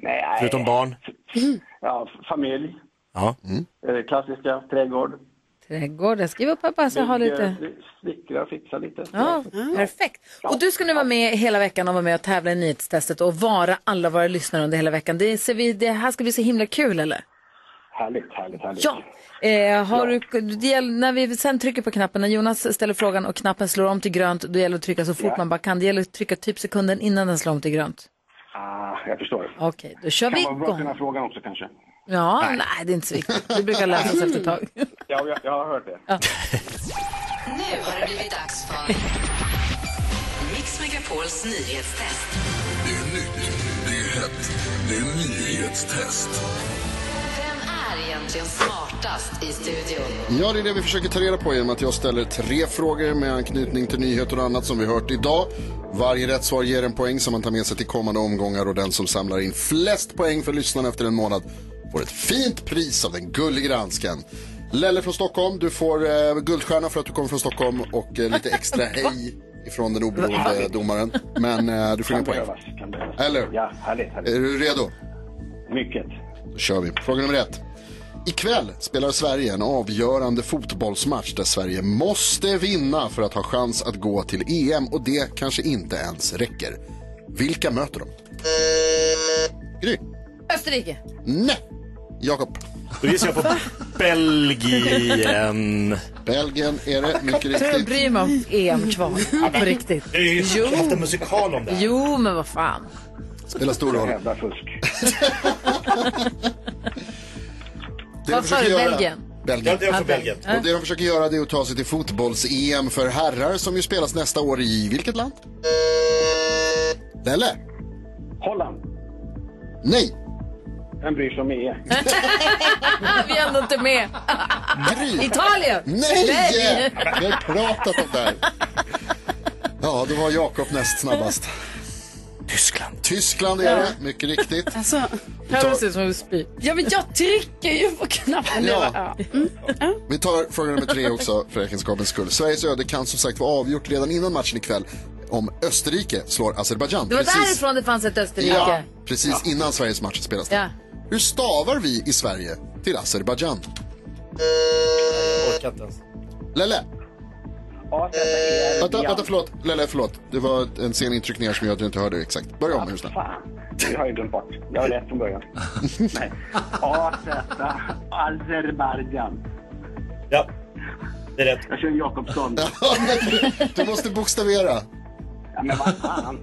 N: Nej.
B: Förutom barn.
N: Ja, familj,
B: Ja.
N: eh, klassiska, trädgård. eh,
A: Trädgård. Jag skriver upp här bara så jag har
K: eh,
A: lite.
N: Bygga, Snickra, fixa lite.
A: Ja, perfekt. Och du ska nu vara med hela veckan och vara med och tävla i nyhetstestet och vara alla våra lyssnare under hela veckan. Det, ser vi, det här ska bli så himla kul, eller?
N: Härligt, härligt, härligt.
A: Ja. Eh, har Du, det gäller, när vi sen trycker på knappen, när Jonas ställer frågan och knappen slår om till grönt, då gäller det att trycka så fort
N: Ja.
A: man bara kan. Det gäller att trycka typ sekunden innan den slår om till grönt.
N: Ah, jag förstår.
A: Okej, då kör
N: kan
A: vi
N: vara bra att kunna
A: igång.
N: frågan också kanske.
A: Ja, nej. det är inte så viktigt. Det brukar lösas efter ett tag.
N: Ja, jag, jag har hört det.
F: Nu har det blivit dags för Mix Megapols nyhetstest.
G: Det är nytt, det är hett, det är nyhetstest.
F: Vem är egentligen smartast i studion?
C: Ja, det är det vi försöker ta reda på genom att jag ställer tre frågor med anknytning till nyheter och annat som vi hört idag. Varje rätt svar ger en poäng som man tar med sig till kommande omgångar och den som samlar in flest poäng för lyssnarna efter en månad får ett fint pris av den gullige dansken. Lelle från Stockholm, du får eh, guldstjärna för att du kommer från Stockholm och eh, lite extra hej ifrån den oberoende domaren. Men eh, du får inga poäng. Eller
N: Ja, härligt, härligt.
C: Är du redo?
G: Eh.
N: Mycket.
C: Då kör vi. Fråga nummer ett. Ikväll spelar Sverige en avgörande fotbollsmatch där Sverige måste vinna för att ha chans att gå till EM och det kanske inte ens räcker. Vilka möter de? Gry?
A: Österrike.
C: Nej. Jakob?
B: Då gissar jag på Belgien.
C: Belgien är det, mycket
A: Tror du jag
C: riktigt.
A: bryr mig om EM-kval? På riktigt.
B: Det är ju
A: Jo.
B: haft en musikal om det här.
A: Jo, men vad fan.
C: Spelar stor roll.
N: Jävla fusk.
C: Det
A: Vad
C: de
A: sa du,
C: försöker göra-
A: Belgien?
C: Belgien.
A: Ja, det är också Ja, Belgien. Belgien.
C: Och det de försöker göra det är att ta sig till fotbolls-EM för herrar som ju spelas nästa år i vilket land? Lelle?
N: Holland.
C: Nej.
N: Vem bryr sig om E? EM?
G: Eh.
A: Vi är ändå inte med.
C: Gry.
A: Italien!
C: Nej! Vi har pratat om det här. Ja, det var Jakob näst snabbast.
B: Tyskland.
C: Tyskland är det, mycket riktigt.
E: Alltså,
A: Carro ser ut som en spy.
E: ja, men jag trycker ju på knappen. nu.
C: Ja.
E: Ja.
C: Vi tar fråga nummer tre också för räkenskapens skull. Sveriges öde kan som sagt vara avgjort redan innan matchen ikväll om Österrike slår Azerbajdzjan.
A: Det var
C: Precis,
A: därifrån det fanns ett
C: ja,
A: Österrike.
C: precis innan Sveriges match spelas.
A: Ja.
C: Hur stavar vi i Sverige till Azerbajdzjan?
B: Orkar inte ens.
C: Lelle? Vänta, vänta, förlåt. Lelle, förlåt. Det var en sen intryckning här som gör att du inte hörde exakt. Börja om, är du snäll.
N: Fan, det har jag ju glömt bort. Jag har rätt från början. Nej. AZ, Azerbajdzjan.
B: Ja, det är rätt.
N: Jag kör Jakobsson.
C: Du måste bokstavera.
N: Ja, men vad fan.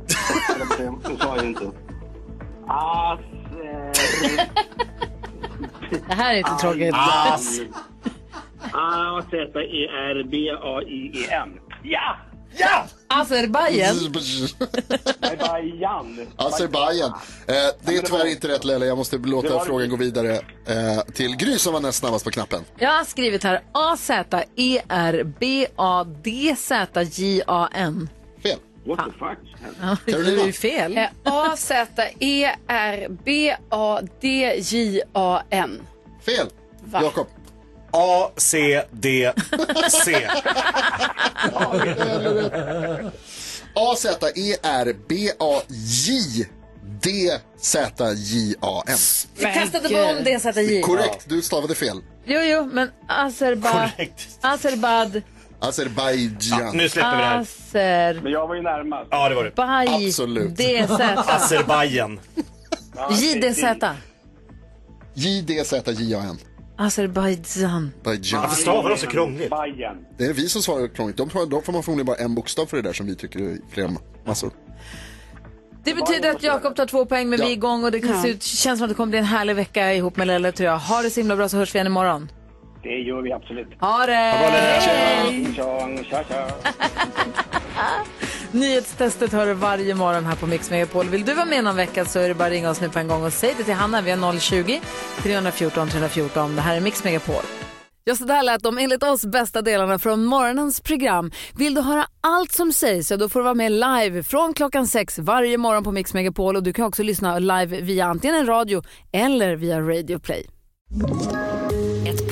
N: Så sa jag ju inte. Azer...
A: Det här är inte tråkigt.
N: As. E A-Z-E-R-B-A-I-E-N. E Ja! Ja!
A: Azerbajdzjan.
N: Azerbajdzjan.
C: Azerbajdzjan. Eh, det är tyvärr inte rätt Lelle, jag måste
N: Det
C: låta
N: var-
C: frågan gå vidare eh, till Gry som var näst snabbast på knappen.
A: Jag har skrivit här E A-Z-E-R-B-A-D-Z-J-A-N.
C: Fel.
N: What the fuck?
A: Ja, det är ju fel.
E: Eh, E A-Z-E-R-B-A-D-J-A-N.
C: Fel.
E: Va?
C: Jakob.
B: A, C, D, C.
C: E A-Z-E-R-B-A-J-D-Z-J-A-N.
A: Vi testade bara om D-Z-J.
C: Korrekt, du stavade fel.
A: Jo, jo, men Azerbaj...
B: Korrekt.
A: Azerbad...
B: Ja,
C: Azerbajdzjan.
B: nu släpper vi det här.
A: Azerbaj...
N: Men jag var ju närmast.
B: Ja, det var det.
C: Absolut.
A: DZ...
B: Azerbajdzjan.
A: JDZ.
C: J-D-Z-J-A-N.
A: Azerbajdzjan.
C: Bajan.
B: Varför stavar de så krångligt?
N: Bajen.
C: Det är vi som svarar krångligt. De, får- de får man förmodligen bara en bokstav för det där som vi tycker är flera massor.
A: Det betyder att Jakob tar två poäng, men
C: Ja.
A: vi är igång och det kan se ut, känns som att det kommer bli en härlig vecka ihop med Lelle, tror jag. Ha det så himla bra så hörs vi igen imorgon.
N: Det gör vi absolut.
A: Ha det! Eh.
N: Tjong, tja, tja.
A: Nyhetstestet hör du varje morgon här på Mix Megapol. Vill du vara med någon vecka så är det bara att ringa oss nu på en gång och säg det till Hanna. Vi har 020 314 314. Det här är Mix Megapol. Ja, så där lät de enligt oss bästa delarna från morgonens program. Vill du höra allt som sägs så då får du vara med live från klockan sex varje morgon på Mix Megapol och du kan också lyssna live via antingen en radio eller via Radio Play.
F: Ett